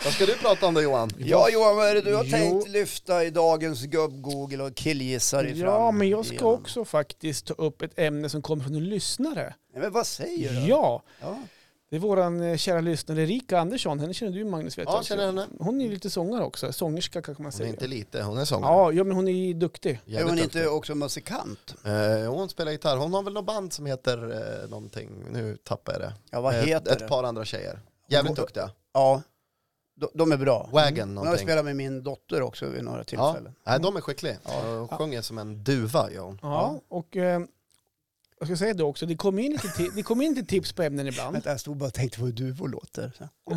[SPEAKER 3] Vad ska du prata om då Johan?
[SPEAKER 1] Ja Johan, vad är det du har
[SPEAKER 2] Jo.
[SPEAKER 1] tänkt lyfta i dagens gubb-Google och killgissar i
[SPEAKER 2] Ja, men jag ska
[SPEAKER 1] igenom?
[SPEAKER 2] också faktiskt ta upp ett ämne som kommer från en lyssnare.
[SPEAKER 1] Nej, men vad säger du?
[SPEAKER 2] Ja,
[SPEAKER 1] Ja.
[SPEAKER 2] det är våran eh, kära lyssnare Erika Andersson. Henne känner du Magnus vet
[SPEAKER 3] Ja,
[SPEAKER 2] jag också.
[SPEAKER 3] känner henne.
[SPEAKER 2] Hon är ju lite sångare också, sångerska kan man
[SPEAKER 3] Hon är
[SPEAKER 2] säga.
[SPEAKER 3] inte lite, hon är sångare.
[SPEAKER 2] Ja, ja, men hon är ju duktig.
[SPEAKER 1] Är
[SPEAKER 3] Jävligt
[SPEAKER 1] hon
[SPEAKER 3] duktig.
[SPEAKER 1] inte också musikant?
[SPEAKER 3] Eh, hon spelar gitarr. Hon har väl något band som heter eh, någonting. Nu tappar jag det.
[SPEAKER 1] Ja, vad
[SPEAKER 3] Eh,
[SPEAKER 1] heter
[SPEAKER 3] ett,
[SPEAKER 1] det?
[SPEAKER 3] ett par andra tjejer. Jävligt
[SPEAKER 1] Hon-
[SPEAKER 3] duktiga.
[SPEAKER 1] Ja, de, de är bra.
[SPEAKER 3] Wagon
[SPEAKER 1] Hon har
[SPEAKER 3] någonting.
[SPEAKER 1] spelat med min dotter också vid några
[SPEAKER 3] Ja.
[SPEAKER 1] tillfällen.
[SPEAKER 3] Nej, de är skickliga. Hon sjunger som en duva, gör hon.
[SPEAKER 2] Ja, och eh, jag ska säga det också, det kommer in, lite ti- det kom in lite tips på ämnen ibland.
[SPEAKER 1] Vänta, jag stod bara och tänkte på hur duvor låter. Så.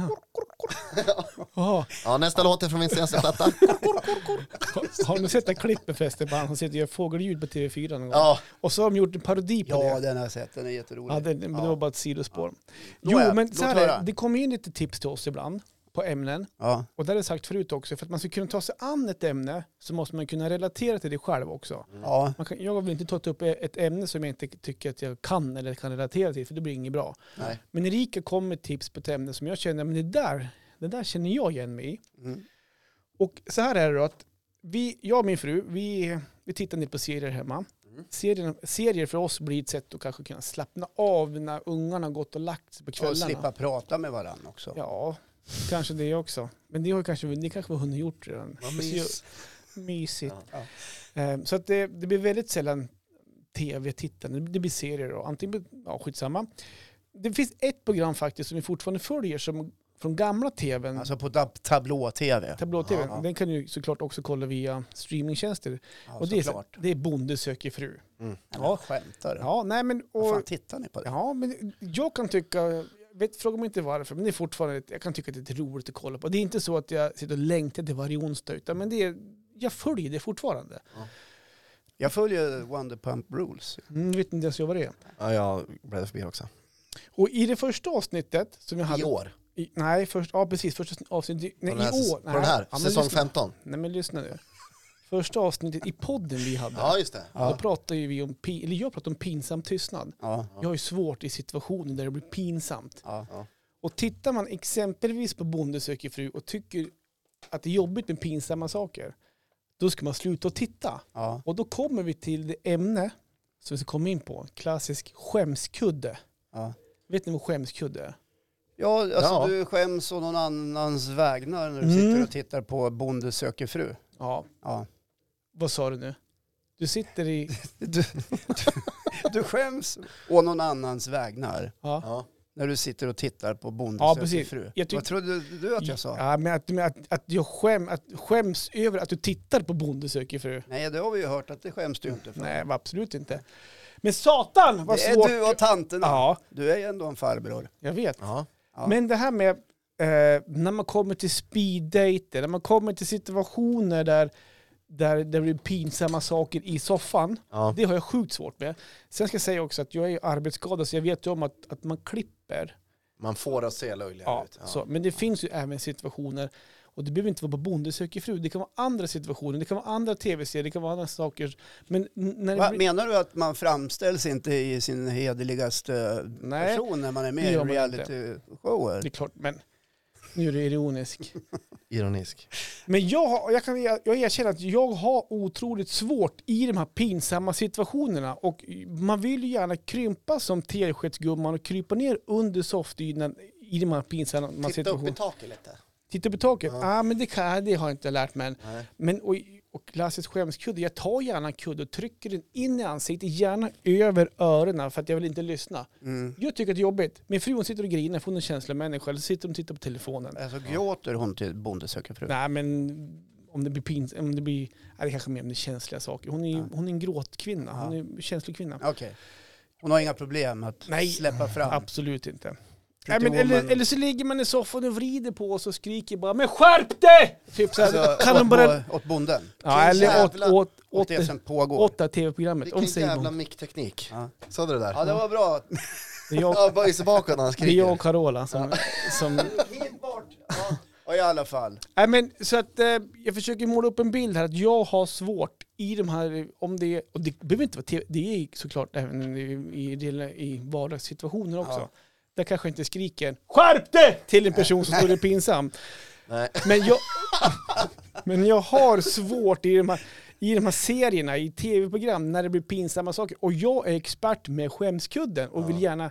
[SPEAKER 2] Jaha.
[SPEAKER 3] Ja, nästa låt är från min senaste platta.
[SPEAKER 2] Har- Har ni sett det här klippet förresten på han som sitter och gör fågelljud på TV4 någon gång?
[SPEAKER 3] Ja,
[SPEAKER 2] Och så har de gjort en parodi på
[SPEAKER 1] Ja,
[SPEAKER 2] det.
[SPEAKER 1] den har jag sett. Den är jätterolig.
[SPEAKER 2] Ja, det, men det var bara ett sidospår. Jo,
[SPEAKER 1] Nåja,
[SPEAKER 2] men
[SPEAKER 1] låt
[SPEAKER 2] så här,
[SPEAKER 1] höra.
[SPEAKER 2] är- det kommer in lite tips till oss ibland på ämnen.
[SPEAKER 1] Ja.
[SPEAKER 2] Och det har jag sagt förut också, för att man ska kunna ta sig an ett ämne så måste man kunna relatera till det själv också.
[SPEAKER 1] Ja.
[SPEAKER 2] Man kan, jag vill inte ta upp ett ämne som jag inte tycker att jag kan eller kan relatera till, för det blir inget bra.
[SPEAKER 3] Nej.
[SPEAKER 2] Men Erika kom med tips på ett ämne som jag känner, men det där, det där känner jag igen mig i.
[SPEAKER 1] Mm.
[SPEAKER 2] Och så här är det då att vi, jag och min fru, vi, vi tittar ner på serier hemma.
[SPEAKER 1] Mm.
[SPEAKER 2] Serier, serier för oss blir ett sätt att kanske kunna slappna av när ungarna har gått och lagt sig på
[SPEAKER 1] Och
[SPEAKER 2] kvällarna.
[SPEAKER 1] slippa prata med varandra också.
[SPEAKER 2] Ja, kanske det också. Men det har ju kanske, det kanske vi har hunnit gjort redan.
[SPEAKER 3] vad
[SPEAKER 2] Så ju-
[SPEAKER 3] mys.
[SPEAKER 2] Mysigt. Ehm, Så att det, det blir väldigt sällan tv-tittande. Det blir serier då. Antingen, ja skitsamma. Det finns ett program faktiskt som vi fortfarande följer som från gamla tvn,
[SPEAKER 1] Alltså på tab- tablå-tv.
[SPEAKER 2] tablå-tvn.
[SPEAKER 1] Ja, ja.
[SPEAKER 2] Den kan du ju såklart också kolla via streamingtjänster.
[SPEAKER 1] Ja,
[SPEAKER 2] och det är,
[SPEAKER 1] såklart.
[SPEAKER 2] det är Bonde söker fru.
[SPEAKER 3] Mm.
[SPEAKER 1] Nej, men Skämtar du?
[SPEAKER 2] Ja, nej men...
[SPEAKER 1] Vad
[SPEAKER 2] Och,
[SPEAKER 1] fan tittar ni på det?
[SPEAKER 2] ja, men jag kan tycka... jag Vet, fråga mig inte varför, men det är fortfarande, ett- jag kan tycka att det är roligt att kolla på. Det är inte så att jag sitter och längtar till varje onsdag, utan men det är, jag följer det fortfarande.
[SPEAKER 1] Jag följer Wonder Pump Rules.
[SPEAKER 2] Mm, vet inte ens jag vad det är.
[SPEAKER 3] Ja, jag bläddrar förbi också.
[SPEAKER 2] Och i det första avsnittet som vi hade...
[SPEAKER 3] I år?
[SPEAKER 2] I, nej, först, ja, precis. Första avsnittet... Nej,
[SPEAKER 3] På den här,
[SPEAKER 2] i år.
[SPEAKER 3] säs- på
[SPEAKER 2] Nej,
[SPEAKER 3] den här
[SPEAKER 2] ja, men
[SPEAKER 3] säsong
[SPEAKER 2] lyssna.
[SPEAKER 3] 15?
[SPEAKER 2] Nej, men lyssna nu. Första avsnittet i podden vi hade,
[SPEAKER 3] Ja, just det.
[SPEAKER 2] då pratade ju vi om, pin- eller jag pratade om pinsam tystnad.
[SPEAKER 1] Ja.
[SPEAKER 2] Jag har ju svårt i situationer där det blir pinsamt.
[SPEAKER 1] Ja.
[SPEAKER 2] Och tittar man exempelvis på Bonde söker fru och tycker att det är jobbigt med pinsamma saker, då ska man sluta att titta.
[SPEAKER 1] Ja.
[SPEAKER 2] Och då kommer vi till det ämne som vi ska komma in på, klassisk skämskudde.
[SPEAKER 1] Ja.
[SPEAKER 2] Vet ni vad skämskudde är?
[SPEAKER 1] Ja, alltså
[SPEAKER 3] Ja.
[SPEAKER 1] du skäms å någon annans vägnar när du
[SPEAKER 2] Mm.
[SPEAKER 1] sitter och tittar på Bonde söker fru.
[SPEAKER 2] Ja,
[SPEAKER 1] Ja.
[SPEAKER 2] vad sa du nu? Du sitter i...
[SPEAKER 1] Du, du, du skäms å någon annans vägnar
[SPEAKER 2] Ja,
[SPEAKER 3] Ja.
[SPEAKER 1] när du sitter och tittar på Bonde
[SPEAKER 2] Ja,
[SPEAKER 1] söker
[SPEAKER 2] precis.
[SPEAKER 1] fru.
[SPEAKER 2] Jag tyck-
[SPEAKER 1] Vad trodde du att jag sa?
[SPEAKER 2] ja men att, men att, att jag skäm, att, skäms över att du tittar på Bonde söker fru.
[SPEAKER 1] Nej, det har vi ju hört att det skäms du ju inte för.
[SPEAKER 2] Nej, absolut inte. Men satan Mm. vad
[SPEAKER 1] det är
[SPEAKER 2] svårt!
[SPEAKER 1] du och tanterna.
[SPEAKER 2] Ja,
[SPEAKER 1] Du är ju ändå en farbror.
[SPEAKER 2] jag vet.
[SPEAKER 3] Ja.
[SPEAKER 1] Ja.
[SPEAKER 2] Men det här med eh, när man kommer till speeddejter, när man kommer till situationer där, där, där det blir pinsamma saker i soffan,
[SPEAKER 3] Ja.
[SPEAKER 2] det har jag sjukt svårt med. Sen ska jag säga också att jag är ju arbetsskadad så jag vet ju om att, att man klipper.
[SPEAKER 3] Man får att se löjligare
[SPEAKER 2] Ja,
[SPEAKER 3] ut.
[SPEAKER 2] så. Men det finns ju även situationer, och det behöver inte vara på Bonde söker fru, det kan vara andra situationer, det kan vara andra tv-serier, det kan vara andra saker. Men n- när det
[SPEAKER 1] Va,
[SPEAKER 2] blir...
[SPEAKER 1] menar du att man framställs inte i sin hederligaste
[SPEAKER 2] Nej,
[SPEAKER 1] person när man är
[SPEAKER 2] det
[SPEAKER 1] med i
[SPEAKER 2] gör man inte. Liksom,
[SPEAKER 1] reality-shower?
[SPEAKER 2] det är klart, men nu är du ironisk.
[SPEAKER 3] Ironisk.
[SPEAKER 2] Men jag, har- jag, kan, jag, jag erkänner att jag har otroligt svårt i de här pinsamma situationerna. Och man vill ju gärna krympa som teskedsgumman och krypa ner under soffdynan i de här pinsamma
[SPEAKER 1] Titta upp i
[SPEAKER 2] situationerna.
[SPEAKER 1] taket lite.
[SPEAKER 2] Titta på taket? Ah, men det, kan, det har jag inte lärt mig än. Men, och, och klassisk skämskudde, jag tar gärna en kudde och trycker den in i ansiktet, gärna över öronen för att jag vill inte lyssna.
[SPEAKER 1] Mm.
[SPEAKER 2] Jag tycker att det är jobbigt. Min fru hon sitter och grinar för hon är en känslomänniska, eller sitter hon och tittar på telefonen.
[SPEAKER 1] Alltså gråter hon till Bonde söker fru?
[SPEAKER 2] Nej men om det blir pins, om det blir, nej, det kanske är mer om det är känsliga saker. Hon är, hon är en gråtkvinna, hon är en känslig kvinna.
[SPEAKER 1] Okej. Hon har inga problem att
[SPEAKER 2] Nej.
[SPEAKER 1] släppa fram.
[SPEAKER 2] Absolut inte. Nej,
[SPEAKER 1] Pretty
[SPEAKER 2] men, eller,
[SPEAKER 1] Woman.
[SPEAKER 2] eller så ligger man i soffan och vrider på oss och skriker bara ”Men skärp dig!” Typ så här,
[SPEAKER 1] Alltså,
[SPEAKER 2] kan de
[SPEAKER 1] åt,
[SPEAKER 2] bara
[SPEAKER 1] bo- åt bonden.
[SPEAKER 2] Ja, eller åt,
[SPEAKER 3] jävla-
[SPEAKER 2] åt, åt,
[SPEAKER 1] Åt det som pågår.
[SPEAKER 2] åt det här tv-programmet. Om
[SPEAKER 3] Vilken
[SPEAKER 2] säger
[SPEAKER 3] jävla
[SPEAKER 2] hon.
[SPEAKER 3] mickteknik.
[SPEAKER 1] Ja.
[SPEAKER 3] Sa du det där?
[SPEAKER 1] Ja, det var bra.
[SPEAKER 2] Det är jag,
[SPEAKER 3] Ja, böj sig bakåt när han
[SPEAKER 2] det är jag
[SPEAKER 3] skriker.
[SPEAKER 2] och Carola som... som
[SPEAKER 1] Helt bort. Ja. Och i alla fall.
[SPEAKER 2] nej, men, så att, eh, jag försöker måla upp en bild här att jag har svårt i de här, om det är- och det behöver inte vara TV, det är såklart även i, i, del- i vardagssituationer också.
[SPEAKER 1] Ja.
[SPEAKER 2] Där kanske jag inte skriker ”Skärp dig!” till en person som står pinsam.
[SPEAKER 3] Nej.
[SPEAKER 2] Men jag, men jag har svårt i de här, i de här serierna, i tv-program, när det blir pinsamma saker. Och jag är expert med skämskudden och vill gärna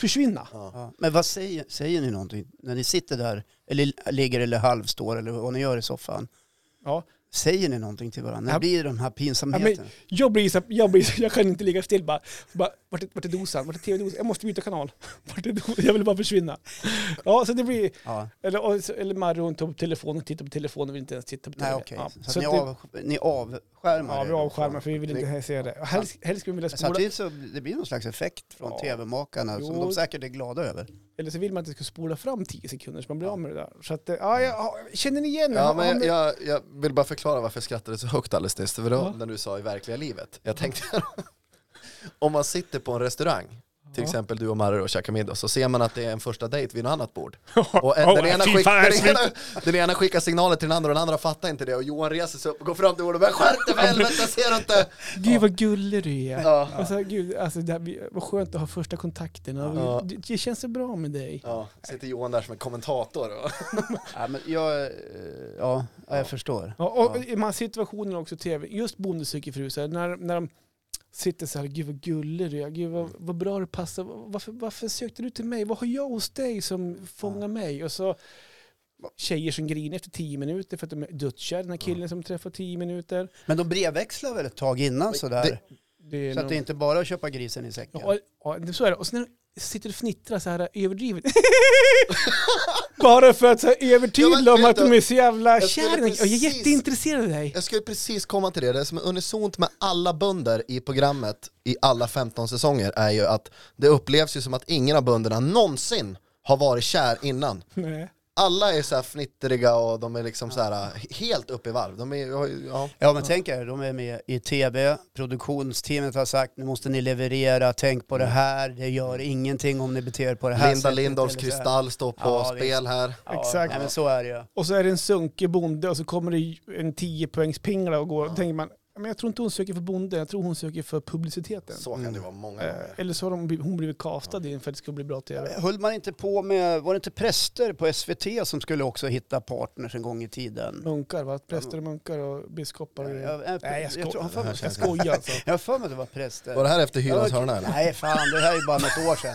[SPEAKER 2] försvinna.
[SPEAKER 1] Ja. Men vad säger, säger ni någonting när ni sitter där, eller ligger eller halvstår eller vad ni gör i soffan?
[SPEAKER 2] Ja.
[SPEAKER 1] Säger ni någonting till varandra? När
[SPEAKER 2] Ja.
[SPEAKER 1] blir de här
[SPEAKER 2] Ja, men
[SPEAKER 1] pinsamheterna?
[SPEAKER 2] jag, blir så, jag, blir så, jag kan inte ligga still bara. bara vart, är, vart är dosan? Vart är tv-dosan? Jag måste byta kanal. Vart är dosan? Jag vill bara försvinna. Ja, så det blir...
[SPEAKER 1] Ja.
[SPEAKER 2] Eller, och så- eller Marron tar upp telefonen, tittar på telefonen och vill inte ens titta på
[SPEAKER 1] Nej,
[SPEAKER 2] telefonen.
[SPEAKER 1] okej.
[SPEAKER 2] Ja,
[SPEAKER 1] Så, att
[SPEAKER 2] så
[SPEAKER 1] ni,
[SPEAKER 2] att det-
[SPEAKER 1] av, ni avskärmar
[SPEAKER 2] Ja,
[SPEAKER 1] er
[SPEAKER 2] vi
[SPEAKER 1] då
[SPEAKER 2] avskärmar
[SPEAKER 1] från-
[SPEAKER 2] för vi vill inte se det. Helst, helst skulle vi vilja
[SPEAKER 1] Men
[SPEAKER 2] spola,
[SPEAKER 1] Samtidigt så det blir någon slags effekt från
[SPEAKER 2] Ja.
[SPEAKER 1] tv-makarna som
[SPEAKER 2] Jo.
[SPEAKER 1] de säkert är glada över.
[SPEAKER 2] Eller så vill man att det ska spola fram 10 sekunder så man blir av med det där. Så att, eh, ja, jag har- känner ni igen
[SPEAKER 3] Ja,
[SPEAKER 2] Har-
[SPEAKER 3] men
[SPEAKER 2] har
[SPEAKER 3] jag,
[SPEAKER 2] ni-
[SPEAKER 3] jag, jag vill bara förklara varför jag skrattade så högt alldeles nyss. Det var då
[SPEAKER 2] Ja.
[SPEAKER 3] när du sa i verkliga livet. Jag tänkte, om man sitter på en restaurang, till
[SPEAKER 2] Ja.
[SPEAKER 3] exempel du och Marre och käkar middag, så ser man att det är en första dejt vid något annat bord.
[SPEAKER 2] Ja.
[SPEAKER 3] Och en,
[SPEAKER 2] Åh,
[SPEAKER 3] den, ena
[SPEAKER 2] fy
[SPEAKER 3] skick,
[SPEAKER 2] fan, jag
[SPEAKER 3] den, ena, den ena skickar signaler till den andra och den andra fattar inte det. Och Johan reser sig upp och går fram till bordet och bara skärp dig för helvete, ser du inte?
[SPEAKER 2] Gud vad gullig du är.
[SPEAKER 3] Ja.
[SPEAKER 2] Alltså, gud, alltså, det här, vi- vad skönt att ha första kontakten. Och
[SPEAKER 3] Ja.
[SPEAKER 2] Det, det känns så bra med dig.
[SPEAKER 3] Ja, sitter Johan där som en kommentator. Och,
[SPEAKER 1] Ja, men jag, eh, ja, ja, jag förstår.
[SPEAKER 2] Ja, och i de här situationerna också i tv, just Bonde söker fru, så här, när, när de sitter så här, gud vad gullig du är, gud vad, vad bra du passar, varför, varför sökte du till mig, vad har jag hos dig som fångar mig? Och så tjejer som grinar efter tio minuter för att de är dödskär, den här killen som träffar tio minuter.
[SPEAKER 1] Men de brevväxlar väl ett tag innan sådär?
[SPEAKER 2] Det är
[SPEAKER 1] så att
[SPEAKER 2] nog-
[SPEAKER 1] det är inte bara att köpa grisen i säcken.
[SPEAKER 2] Ja, ja, det- så är det. Och sen när de sitter och fnittrar så här överdrivet. Bara för att så här
[SPEAKER 3] Ja,
[SPEAKER 2] övertydla
[SPEAKER 3] men
[SPEAKER 2] om
[SPEAKER 3] vet
[SPEAKER 2] att de
[SPEAKER 3] du,
[SPEAKER 2] är så jävla
[SPEAKER 3] skulle
[SPEAKER 2] kär i dig. Och jag är
[SPEAKER 3] precis-
[SPEAKER 2] jätteintresserad av dig.
[SPEAKER 3] Jag skulle precis komma till det, det som är unisont med alla bönder i programmet i alla 15 säsonger är ju att det upplevs ju som att ingen av bönderna någonsin har varit kär innan.
[SPEAKER 2] Nej.
[SPEAKER 3] Alla är så här fnittriga och de är liksom så här eh, helt uppe i varv. De är, har ju- ja.
[SPEAKER 1] Ja men tänk er, de är med i tv, produktionsteamet har sagt nu måste ni leverera, tänk på det här, det gör ingenting om ni beter er på det här
[SPEAKER 3] Linda
[SPEAKER 1] sättet
[SPEAKER 3] Lindorffs
[SPEAKER 1] eller så här.
[SPEAKER 3] kristall står på
[SPEAKER 1] Ja,
[SPEAKER 3] spel här.
[SPEAKER 1] Ja,
[SPEAKER 2] Exakt.
[SPEAKER 1] Nej, men så är det ju.
[SPEAKER 2] Och så är det en sunkig bonde och så kommer det en 10 poängs pingla och går. Då tänker man, men jag tror inte hon söker för bonde, jag tror hon söker för publiciteten.
[SPEAKER 3] Så
[SPEAKER 1] Mm.
[SPEAKER 3] kan det vara många
[SPEAKER 2] Eh,
[SPEAKER 3] gånger.
[SPEAKER 2] Eller så har de, bli- hon blivit castad in för att det ska bli bra tv.
[SPEAKER 1] Höll man inte på med, var det inte präster på SVT som skulle också hitta partners en gång i tiden?
[SPEAKER 2] Munkar va? Präster och munkar och biskopar. Och
[SPEAKER 1] Jag- jag-
[SPEAKER 2] Nej jag
[SPEAKER 1] jag tror-
[SPEAKER 2] skojar. Jag, jag skojar alltså.
[SPEAKER 1] Jag har för mig att det var präster.
[SPEAKER 3] Var det här efter
[SPEAKER 1] Ja,
[SPEAKER 3] Hyrans
[SPEAKER 1] okej.
[SPEAKER 3] hörna eller?
[SPEAKER 1] Nej, fan, det här är ju bara något år sedan.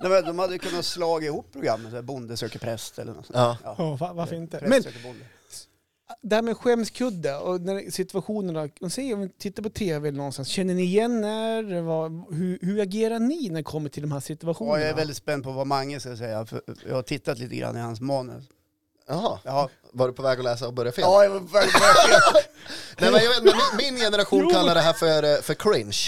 [SPEAKER 1] Nej, men de hade ju kunnat slaga ihop programmet, så här, Bonde söker präst eller något sånt.
[SPEAKER 3] Ja.
[SPEAKER 2] Ja, va- varför inte?
[SPEAKER 1] Präst
[SPEAKER 2] Men
[SPEAKER 1] söker bonde.
[SPEAKER 2] det här med skämskudde och när situationerna, om säger om vi tittar på tv eller någonstans, känner ni igen er? Vad, hur, hur agerar ni när det kommer till de här situationerna?
[SPEAKER 1] Ja, jag är väldigt spänd på vad Mange ska säga, för jag har tittat lite grann i hans manus.
[SPEAKER 3] Jaha,
[SPEAKER 1] Ja,
[SPEAKER 3] var du på väg att läsa och börja fel?
[SPEAKER 1] ja jag var verkligen...
[SPEAKER 3] Nej, men jag vet, inte, min, min generation
[SPEAKER 2] Jo.
[SPEAKER 3] kallar det här för, eh, för cringe.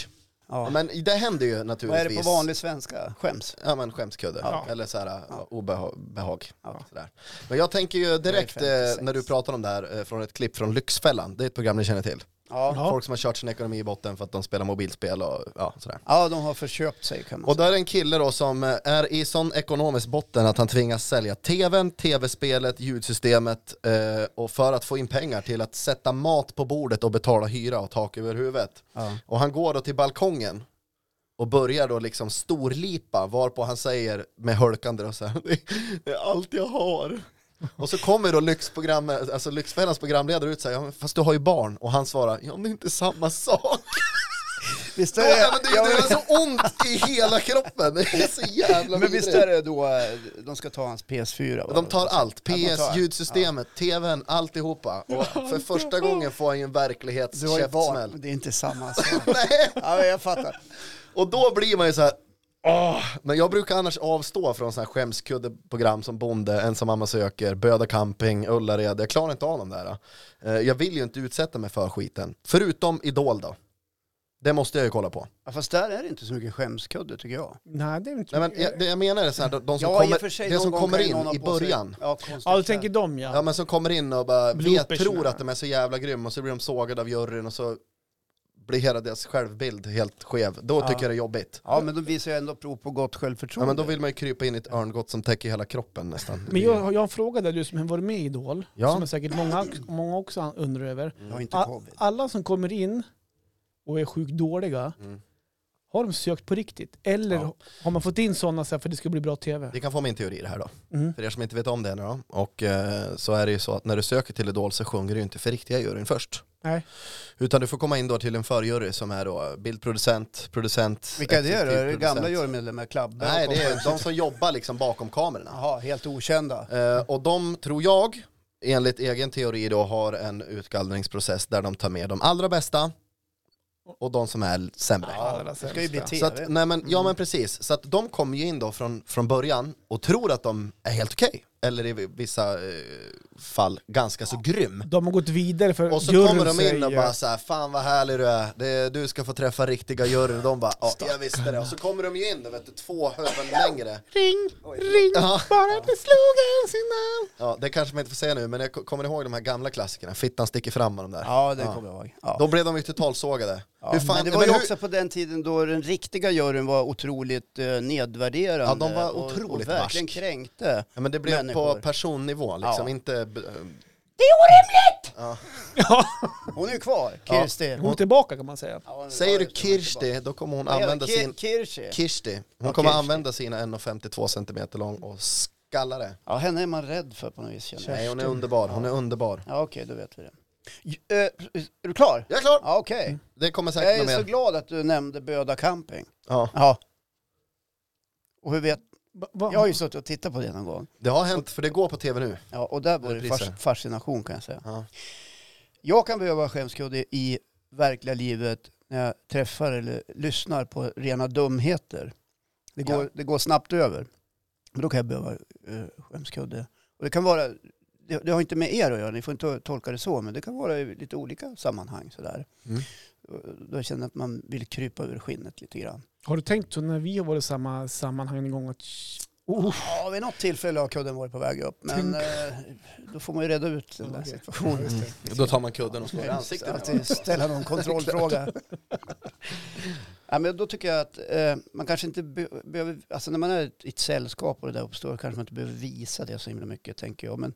[SPEAKER 3] Ja.
[SPEAKER 1] Ja.
[SPEAKER 3] Men det händer ju naturligtvis.
[SPEAKER 1] Vad är det på vanlig svenska? Skäms?
[SPEAKER 3] Ja men skämskudde,
[SPEAKER 2] Ja.
[SPEAKER 3] eller så här obehag. behag.
[SPEAKER 1] Ja.
[SPEAKER 3] Sådär. Men jag tänker ju direkt eh,
[SPEAKER 1] Det är 56.
[SPEAKER 3] när du pratar om det här eh, från ett klipp från Lyxfällan, det är ett program ni känner till.
[SPEAKER 1] Ja.
[SPEAKER 2] Ja.
[SPEAKER 3] Folk som har kört sin ekonomi i botten för att de spelar mobilspel och ja, sådär.
[SPEAKER 1] ja, de har förköpt sig kan man
[SPEAKER 3] Och
[SPEAKER 1] säga.
[SPEAKER 3] där är en kille då som eh, är i sån ekonomisk botten att han tvingas sälja tvn, tv-spelet, ljudsystemet eh, och för att få in pengar till att sätta mat på bordet och betala hyra och tak över huvudet.
[SPEAKER 1] Ja.
[SPEAKER 3] Och han går då till balkongen och börjar då liksom storlipa varpå han säger med hölkande och så här, det är allt jag har. Och så kommer då lyxprogram, alltså Lyxfällans programledare ut och säger ja, men fast du har ju barn. Och han svarar, ja men det är inte samma sak.
[SPEAKER 1] Visst
[SPEAKER 3] Ja,
[SPEAKER 1] är det,
[SPEAKER 3] men det,
[SPEAKER 1] ja,
[SPEAKER 3] det är så ont i hela kroppen. Det är så jävla
[SPEAKER 1] men, men visst
[SPEAKER 3] vidrigt.
[SPEAKER 1] är det då eh, de ska ta hans PS4? va?
[SPEAKER 3] De tar allt,
[SPEAKER 1] Ja, de
[SPEAKER 3] PS,
[SPEAKER 1] tar-
[SPEAKER 3] ljudsystemet, TVn, alltihopa. Och för första gången får han ju en
[SPEAKER 1] Du har ju barn,
[SPEAKER 3] verklighetskäftsmäll.
[SPEAKER 1] men det är inte samma sak.
[SPEAKER 3] Nej,
[SPEAKER 1] ja, men jag fattar.
[SPEAKER 3] Och då blir man ju så här. Åh, men jag brukar annars avstå från sådana här skämskuddeprogram som Bonde, Ensam mamma söker, Böda camping, Ullared. Jag klarar inte av dem där. Eh, Jag vill ju inte utsätta mig för skiten. Förutom Idol då. Det måste jag ju kolla på.
[SPEAKER 1] Ja, fast där är det inte så mycket skämskudde tycker jag.
[SPEAKER 2] Nej, det är inte...
[SPEAKER 3] Nej, men jag, det jag menar är så här, de- de som
[SPEAKER 1] ja, i och för
[SPEAKER 3] kommer,
[SPEAKER 1] sig,
[SPEAKER 3] det
[SPEAKER 1] någon
[SPEAKER 3] som
[SPEAKER 1] gång
[SPEAKER 3] kommer
[SPEAKER 1] kan ju någon
[SPEAKER 3] in
[SPEAKER 1] ha
[SPEAKER 3] i
[SPEAKER 1] på sig-
[SPEAKER 3] början.
[SPEAKER 1] Ja, konstigt.
[SPEAKER 2] ja, du tänker dem ja.
[SPEAKER 3] Ja men som kommer in och bara vet,
[SPEAKER 2] Bloopers,
[SPEAKER 3] tror
[SPEAKER 2] menar
[SPEAKER 3] att de är så jävla grymma och så blir de sågade av juryn och så blir hela deras självbild helt skev. Då tycker jag det är jobbigt.
[SPEAKER 1] ja, men de visar ju ändå prov på gott
[SPEAKER 3] Ja,
[SPEAKER 1] självförtroende.
[SPEAKER 3] men då vill man ju krypa in i ett örngott som täcker hela kroppen nästan.
[SPEAKER 2] Men jag, har- jag har en fråga där du som har varit med i Idol,
[SPEAKER 3] Ja.
[SPEAKER 2] som är säkert många, många också undrar över.
[SPEAKER 1] Jag har inte
[SPEAKER 2] A-
[SPEAKER 1] covid.
[SPEAKER 2] alla som kommer in och är sjukt dåliga,
[SPEAKER 3] Mm.
[SPEAKER 2] har de sökt på riktigt? Eller
[SPEAKER 3] Ja.
[SPEAKER 2] har man fått in sådana så här för att det ska bli bra tv?
[SPEAKER 3] Vi kan få min teori i det här då.
[SPEAKER 2] Mm.
[SPEAKER 3] För er som inte vet om det nu då. Och eh, så är det ju så att när du söker till Idol så sjunger du ju inte för riktiga juryn först.
[SPEAKER 2] Nej.
[SPEAKER 3] Utan du får komma in då till en förjury som är då bildproducent, producent,
[SPEAKER 1] Vilka är det då? Är det
[SPEAKER 3] exekutivproducent.
[SPEAKER 1] gamla jurymedlemmar? Klabbe? och
[SPEAKER 3] typ, Nej, det är
[SPEAKER 1] kompani?
[SPEAKER 3] de som jobbar liksom bakom kamerorna.
[SPEAKER 1] Jaha, helt okända.
[SPEAKER 3] Eh, och de, tror jag, enligt egen teori då, har en utgallringsprocess där de tar med de allra bästa och de som är sämre.
[SPEAKER 2] Allra
[SPEAKER 1] Det ska ju
[SPEAKER 2] sämsta.
[SPEAKER 1] bli tv.
[SPEAKER 3] Så att, nej men, ja men precis, så att de kommer ju in då från, från början och tror att de är helt okej. Eller i vissa eh, fall ganska så grym.
[SPEAKER 2] De har gått vidare för
[SPEAKER 3] Och så
[SPEAKER 2] juryn
[SPEAKER 3] kommer de in och
[SPEAKER 2] säger-
[SPEAKER 3] bara så här, fan vad härlig du är, det, du ska få träffa riktiga juryn. De bara, ja jag visste det. Och så kommer de ju in, vet du, två huvuden längre.
[SPEAKER 2] Ring, ring,
[SPEAKER 3] Ja.
[SPEAKER 2] bara det slog en signal.
[SPEAKER 3] Ja, det kanske man inte får säga nu, men jag ko- kommer ihåg de här gamla klassikerna, Fittan sticker fram och de där.
[SPEAKER 1] Ja, det kommer jag ihåg. Ja.
[SPEAKER 3] Då blev de ju totalsågade.
[SPEAKER 1] Ja,
[SPEAKER 3] Hur fan,
[SPEAKER 1] men det var ju
[SPEAKER 3] hur-
[SPEAKER 1] också på den tiden då den riktiga juryn var otroligt eh, nedvärderande.
[SPEAKER 3] Ja, de var
[SPEAKER 1] och, och
[SPEAKER 3] otroligt
[SPEAKER 1] verkligen
[SPEAKER 3] barsk.
[SPEAKER 1] kränkte.
[SPEAKER 3] ja, men det blev
[SPEAKER 1] människor.
[SPEAKER 3] på personnivå liksom,
[SPEAKER 1] Ja.
[SPEAKER 3] inte... b- eh,
[SPEAKER 2] Ja,
[SPEAKER 1] Hon är ju kvar,
[SPEAKER 3] Ja.
[SPEAKER 1] Kirsti.
[SPEAKER 2] hon är tillbaka kan man säga.
[SPEAKER 1] Ja, hon är
[SPEAKER 3] Säger
[SPEAKER 1] kvar,
[SPEAKER 3] du
[SPEAKER 1] så hon är tillbaka.
[SPEAKER 3] Kirsti, då kommer hon
[SPEAKER 1] Vad heter
[SPEAKER 3] använda
[SPEAKER 1] Ki-
[SPEAKER 3] sin...
[SPEAKER 1] Kirsti.
[SPEAKER 3] Kirsti. Hon
[SPEAKER 1] Ja,
[SPEAKER 3] kommer
[SPEAKER 1] Kirsti.
[SPEAKER 3] använda sina 1,52 centimeter lång och skalla det.
[SPEAKER 1] Ja, henne är man rädd för på något vis. Känner jag.
[SPEAKER 3] Nej, hon är underbar, hon är underbar.
[SPEAKER 1] Ja, okej, då vet vi det. J- eh, är du klar? Mm.
[SPEAKER 3] Jag är klar!
[SPEAKER 1] Ja, okej.
[SPEAKER 3] Det kommer
[SPEAKER 1] Jag
[SPEAKER 3] säkert
[SPEAKER 1] är
[SPEAKER 3] något
[SPEAKER 1] så
[SPEAKER 3] mer.
[SPEAKER 1] glad att du nämnde Böda camping.
[SPEAKER 3] Ja.
[SPEAKER 1] Ja. Och hur vet...
[SPEAKER 2] Va, va,
[SPEAKER 1] Jag har ju suttit och tittat på det någon gång.
[SPEAKER 3] Det har hänt, för det går på tv nu.
[SPEAKER 1] Ja, och där var det
[SPEAKER 3] Repriser.
[SPEAKER 1] fas- fascination kan jag säga.
[SPEAKER 3] Ja.
[SPEAKER 1] Jag kan behöva skämskudde i verkliga livet när jag träffar eller lyssnar på rena dumheter. Det går,
[SPEAKER 3] Ja.
[SPEAKER 1] det går snabbt över. Men då kan jag behöva eh, skämskudde. Och det kan vara, det, det har inte med er att göra, ni får inte to- tolka det så, men det kan vara i lite olika sammanhang sådär.
[SPEAKER 3] Mm.
[SPEAKER 1] Och Då känner jag att man vill krypa ur skinnet lite grann.
[SPEAKER 2] Har du tänkt så när vi har varit i samma sammanhang en gång att oh,
[SPEAKER 1] Ja, vid något tillfälle har kudden varit på väg upp, men eh, då får man ju reda ut den där
[SPEAKER 2] Okej.
[SPEAKER 1] situationen.
[SPEAKER 3] Då tar man kudden och slår i
[SPEAKER 1] Ansiktet,
[SPEAKER 3] ansiktet.
[SPEAKER 1] att ställa någon kontrollfråga. ja, men då tycker jag att eh, man kanske inte be- behöver, alltså när man är i ett sällskap och det där uppstår kanske man inte behöver visa det så himla mycket tänker jag. Men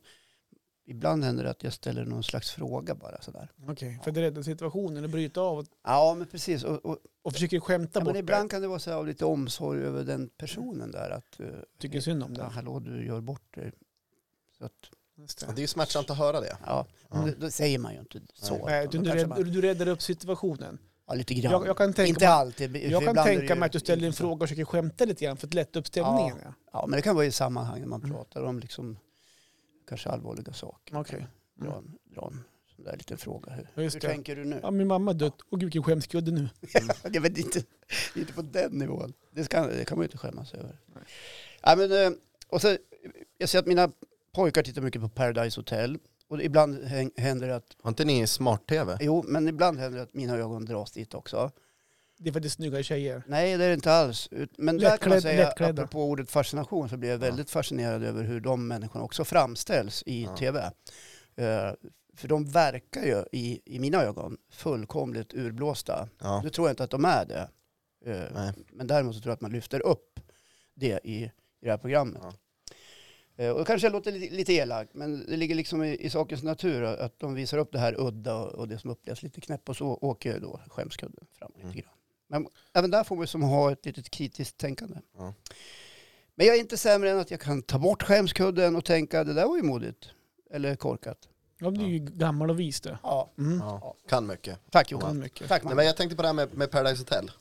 [SPEAKER 1] ibland händer det att jag ställer någon slags fråga bara sådär.
[SPEAKER 2] Okej, för att rädda situationen och bryta av och,
[SPEAKER 1] Ja men precis. Och, och,
[SPEAKER 2] och försöker skämta
[SPEAKER 1] ja,
[SPEAKER 2] bort
[SPEAKER 1] men
[SPEAKER 2] ibland...
[SPEAKER 1] ibland kan det vara så här, av lite omsorg över den personen där att eh,
[SPEAKER 2] det. Tycker synd om
[SPEAKER 1] ja,
[SPEAKER 2] det.
[SPEAKER 1] hallå du gör bort dig. Så att,
[SPEAKER 2] Just
[SPEAKER 3] Det
[SPEAKER 2] det.
[SPEAKER 3] är ju smärtsamt att höra det.
[SPEAKER 1] ja,
[SPEAKER 3] Ja.
[SPEAKER 1] då, då säger man ju inte så.
[SPEAKER 3] Nej,
[SPEAKER 2] Nej,
[SPEAKER 1] utan
[SPEAKER 2] du,
[SPEAKER 1] då
[SPEAKER 2] du,
[SPEAKER 1] kanske
[SPEAKER 2] rädd,
[SPEAKER 1] man,
[SPEAKER 2] du räddar upp situationen.
[SPEAKER 1] ja, lite grann.
[SPEAKER 2] Jag, jag kan tänka
[SPEAKER 1] inte
[SPEAKER 2] mig,
[SPEAKER 1] alltid. för
[SPEAKER 2] jag kan
[SPEAKER 1] ibland är det
[SPEAKER 2] tänka
[SPEAKER 1] ju
[SPEAKER 2] mig att du ställer en
[SPEAKER 1] intressant.
[SPEAKER 2] fråga och försöker skämta lite grann för att lätta upp stämningen. Ja.
[SPEAKER 1] Ja, men det kan vara i sammanhang när man
[SPEAKER 2] Mm.
[SPEAKER 1] pratar om liksom, kanske allvarliga saker.
[SPEAKER 2] Okej.
[SPEAKER 1] Dra en, dra en sån där liten fråga. Hur,
[SPEAKER 2] Ja, Mm. just
[SPEAKER 1] hur
[SPEAKER 2] det.
[SPEAKER 1] tänker du nu?
[SPEAKER 2] Ja, min mamma har dött. Åh gud vilken skämskudde nu.
[SPEAKER 1] Jag vet inte, inte på den nivån. Det, ska, det kan man ju inte skämmas över. Ja, men, eh, och så, jag ser att mina pojkar tittar mycket på Paradise Hotel. Och ibland häng- händer det att,
[SPEAKER 3] Har inte ni smart-tv?
[SPEAKER 1] jo, men ibland händer det att mina ögon dras dit också.
[SPEAKER 2] Det är för att det är snygga tjejer.
[SPEAKER 1] Nej, det är det inte alls. Ut- Men där kan man
[SPEAKER 2] Lättklädd-
[SPEAKER 1] säga,
[SPEAKER 2] lättklädda.
[SPEAKER 1] apropå ordet fascination, så blir jag väldigt fascinerad över hur de människorna också framställs i
[SPEAKER 3] Ja.
[SPEAKER 1] tv. Eh, för de verkar ju, i, i mina ögon, fullkomligt urblåsta.
[SPEAKER 3] Ja.
[SPEAKER 1] Nu tror jag inte att de är det. Eh,
[SPEAKER 3] Nej.
[SPEAKER 1] men däremot så tror jag att man lyfter upp det i, i det här programmet.
[SPEAKER 3] Ja.
[SPEAKER 1] Eh, och det kanske låter lite, lite elakt, men det ligger liksom i, i sakens natur att de visar upp det här udda och, och det som upplevs lite knäpp och så åker ju då skämskudden fram lite
[SPEAKER 3] Mm.
[SPEAKER 1] grann. Men även där får man ju som ha ett litet kritiskt tänkande.
[SPEAKER 3] Ja.
[SPEAKER 1] Men jag är inte sämre än att jag kan ta bort skämskudden och tänka det där var ju modigt. Eller korkat.
[SPEAKER 2] Ja, du är ju gammal och vis det.
[SPEAKER 1] Ja.
[SPEAKER 3] Ja, kan mycket.
[SPEAKER 1] Tack
[SPEAKER 2] Kan
[SPEAKER 1] Johan.
[SPEAKER 2] mycket.
[SPEAKER 1] Tack
[SPEAKER 3] Nej,
[SPEAKER 1] man.
[SPEAKER 3] men jag tänkte på det här med, med Paradise Hotel.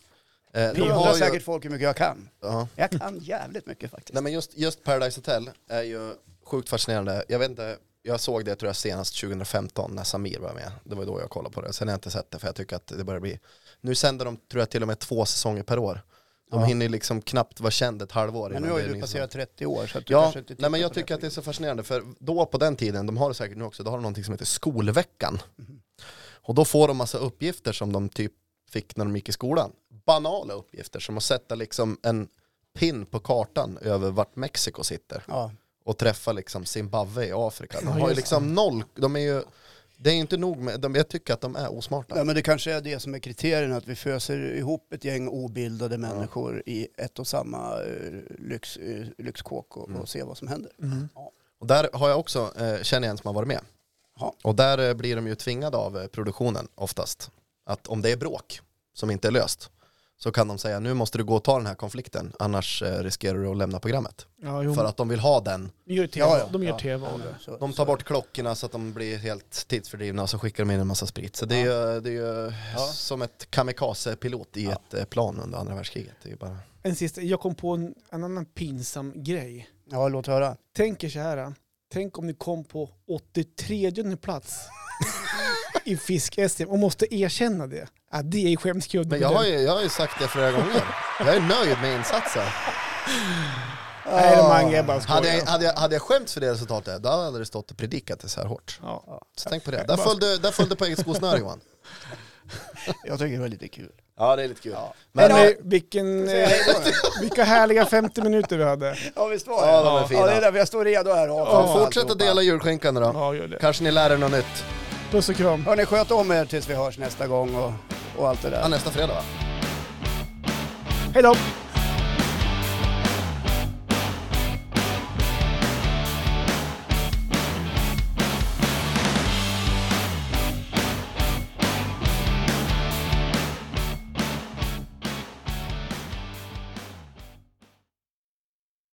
[SPEAKER 3] Eh,
[SPEAKER 1] Ni undrar säkert folk hur mycket jag kan.
[SPEAKER 3] Ja.
[SPEAKER 1] Jag kan jävligt mycket faktiskt.
[SPEAKER 3] Nej men just, just Paradise Hotel är ju sjukt fascinerande. Jag vet inte, jag såg det tror jag senast 2015 när Samir var med. Det var då jag kollade på det. Sen har jag inte sett det för jag tycker att det börjar bli. Nu sänder de tror jag till och med två säsonger per år. De
[SPEAKER 1] Ja.
[SPEAKER 3] hinner liksom knappt vara känd ett halvår.
[SPEAKER 1] Men
[SPEAKER 3] innan
[SPEAKER 1] nu har
[SPEAKER 3] det
[SPEAKER 1] ju
[SPEAKER 3] är liksom-
[SPEAKER 1] du
[SPEAKER 3] ny
[SPEAKER 1] passerat 30 år så att du
[SPEAKER 3] Ja,
[SPEAKER 1] kanske inte
[SPEAKER 3] nej men
[SPEAKER 1] tittar
[SPEAKER 3] jag
[SPEAKER 1] på
[SPEAKER 3] tycker att det
[SPEAKER 1] det
[SPEAKER 3] är så fascinerande för då på den tiden, de har det säkert nu också, då har de någonting som heter skolveckan.
[SPEAKER 1] Mhm.
[SPEAKER 3] Och då får de massa uppgifter som de typ fick när de gick i skolan. Banala uppgifter som att sätta liksom en pin på kartan över vart Mexiko sitter
[SPEAKER 1] Ja.
[SPEAKER 3] och träffa liksom Zimbabwe i Afrika.
[SPEAKER 2] Ja,
[SPEAKER 3] De har ju
[SPEAKER 2] just
[SPEAKER 3] liksom noll, de är ju, det är ju inte nog med, de, jag tycker att de är osmarta.
[SPEAKER 1] Nej, men det kanske är det som är kriterierna, att vi föser ihop ett gäng obildade människor i ett och samma eh, lyx, eh, lyxkåk
[SPEAKER 3] Mm.
[SPEAKER 1] och, och ser vad som händer.
[SPEAKER 2] Mm.
[SPEAKER 1] Ja.
[SPEAKER 3] Och där har jag också, eh, känner jag en som har varit med.
[SPEAKER 1] Ja.
[SPEAKER 3] Och där eh, blir de ju tvingade av eh, produktionen oftast. Att om det är bråk som inte är löst så kan de säga nu måste du gå och ta den här konflikten annars eh, riskerar du att lämna programmet.
[SPEAKER 2] Ja, jo,
[SPEAKER 3] För att de vill ha den.
[SPEAKER 2] de gör TV,
[SPEAKER 1] Ja, ja,
[SPEAKER 2] de gör
[SPEAKER 1] ja.
[SPEAKER 2] tv av det.
[SPEAKER 1] Så,
[SPEAKER 3] De tar bort klockorna så att de blir helt tidsfördrivna och så skickar de in en massa sprit. Så det är ju, det är ju
[SPEAKER 1] Ja.
[SPEAKER 3] som ett kamikazepilot i ett eh, plan under andra världskriget. Det är ju bara...
[SPEAKER 2] En sista, jag kom på en, en annan pinsam grej.
[SPEAKER 1] ja, låt höra.
[SPEAKER 2] Tänk er så här, tänk om ni kom på 83 plats i fisk-SM och måste erkänna det. Ja, det är skämskudden.
[SPEAKER 3] Men jag har, ju, jag har ju sagt det flera gånger. Jag är nöjd med insatsen.
[SPEAKER 2] Nej, det är Mange, jag bara skojar.
[SPEAKER 3] Ah. Hade jag, hade, jag, hade jag skämts för det resultatet, då hade det stått och predikat det så här hårt.
[SPEAKER 2] Ja.
[SPEAKER 3] Så tänk på det. Där följde, där följde på eget skosnöre Johan.
[SPEAKER 1] Jag tycker det var lite kul.
[SPEAKER 3] Ja, det är lite kul.
[SPEAKER 2] Men,
[SPEAKER 3] Men,
[SPEAKER 2] Hörrni, vilken,
[SPEAKER 1] Säg hej då.
[SPEAKER 2] eh, vilka härliga 50 minuter vi hade.
[SPEAKER 1] Ja, visst var det?
[SPEAKER 3] Ja, de är fina.
[SPEAKER 1] Ja, det är därför jag står redo här. och-
[SPEAKER 3] ja, eh, fortsätt att dela julskinkan nu då.
[SPEAKER 2] Ja, gör det.
[SPEAKER 3] Kanske ni lär er något nytt.
[SPEAKER 2] Puss och kram.
[SPEAKER 1] Hörni, sköt om er tills vi hörs nästa gång och, och allt det där.
[SPEAKER 3] Ja, nästa fredag va?
[SPEAKER 2] Hej då!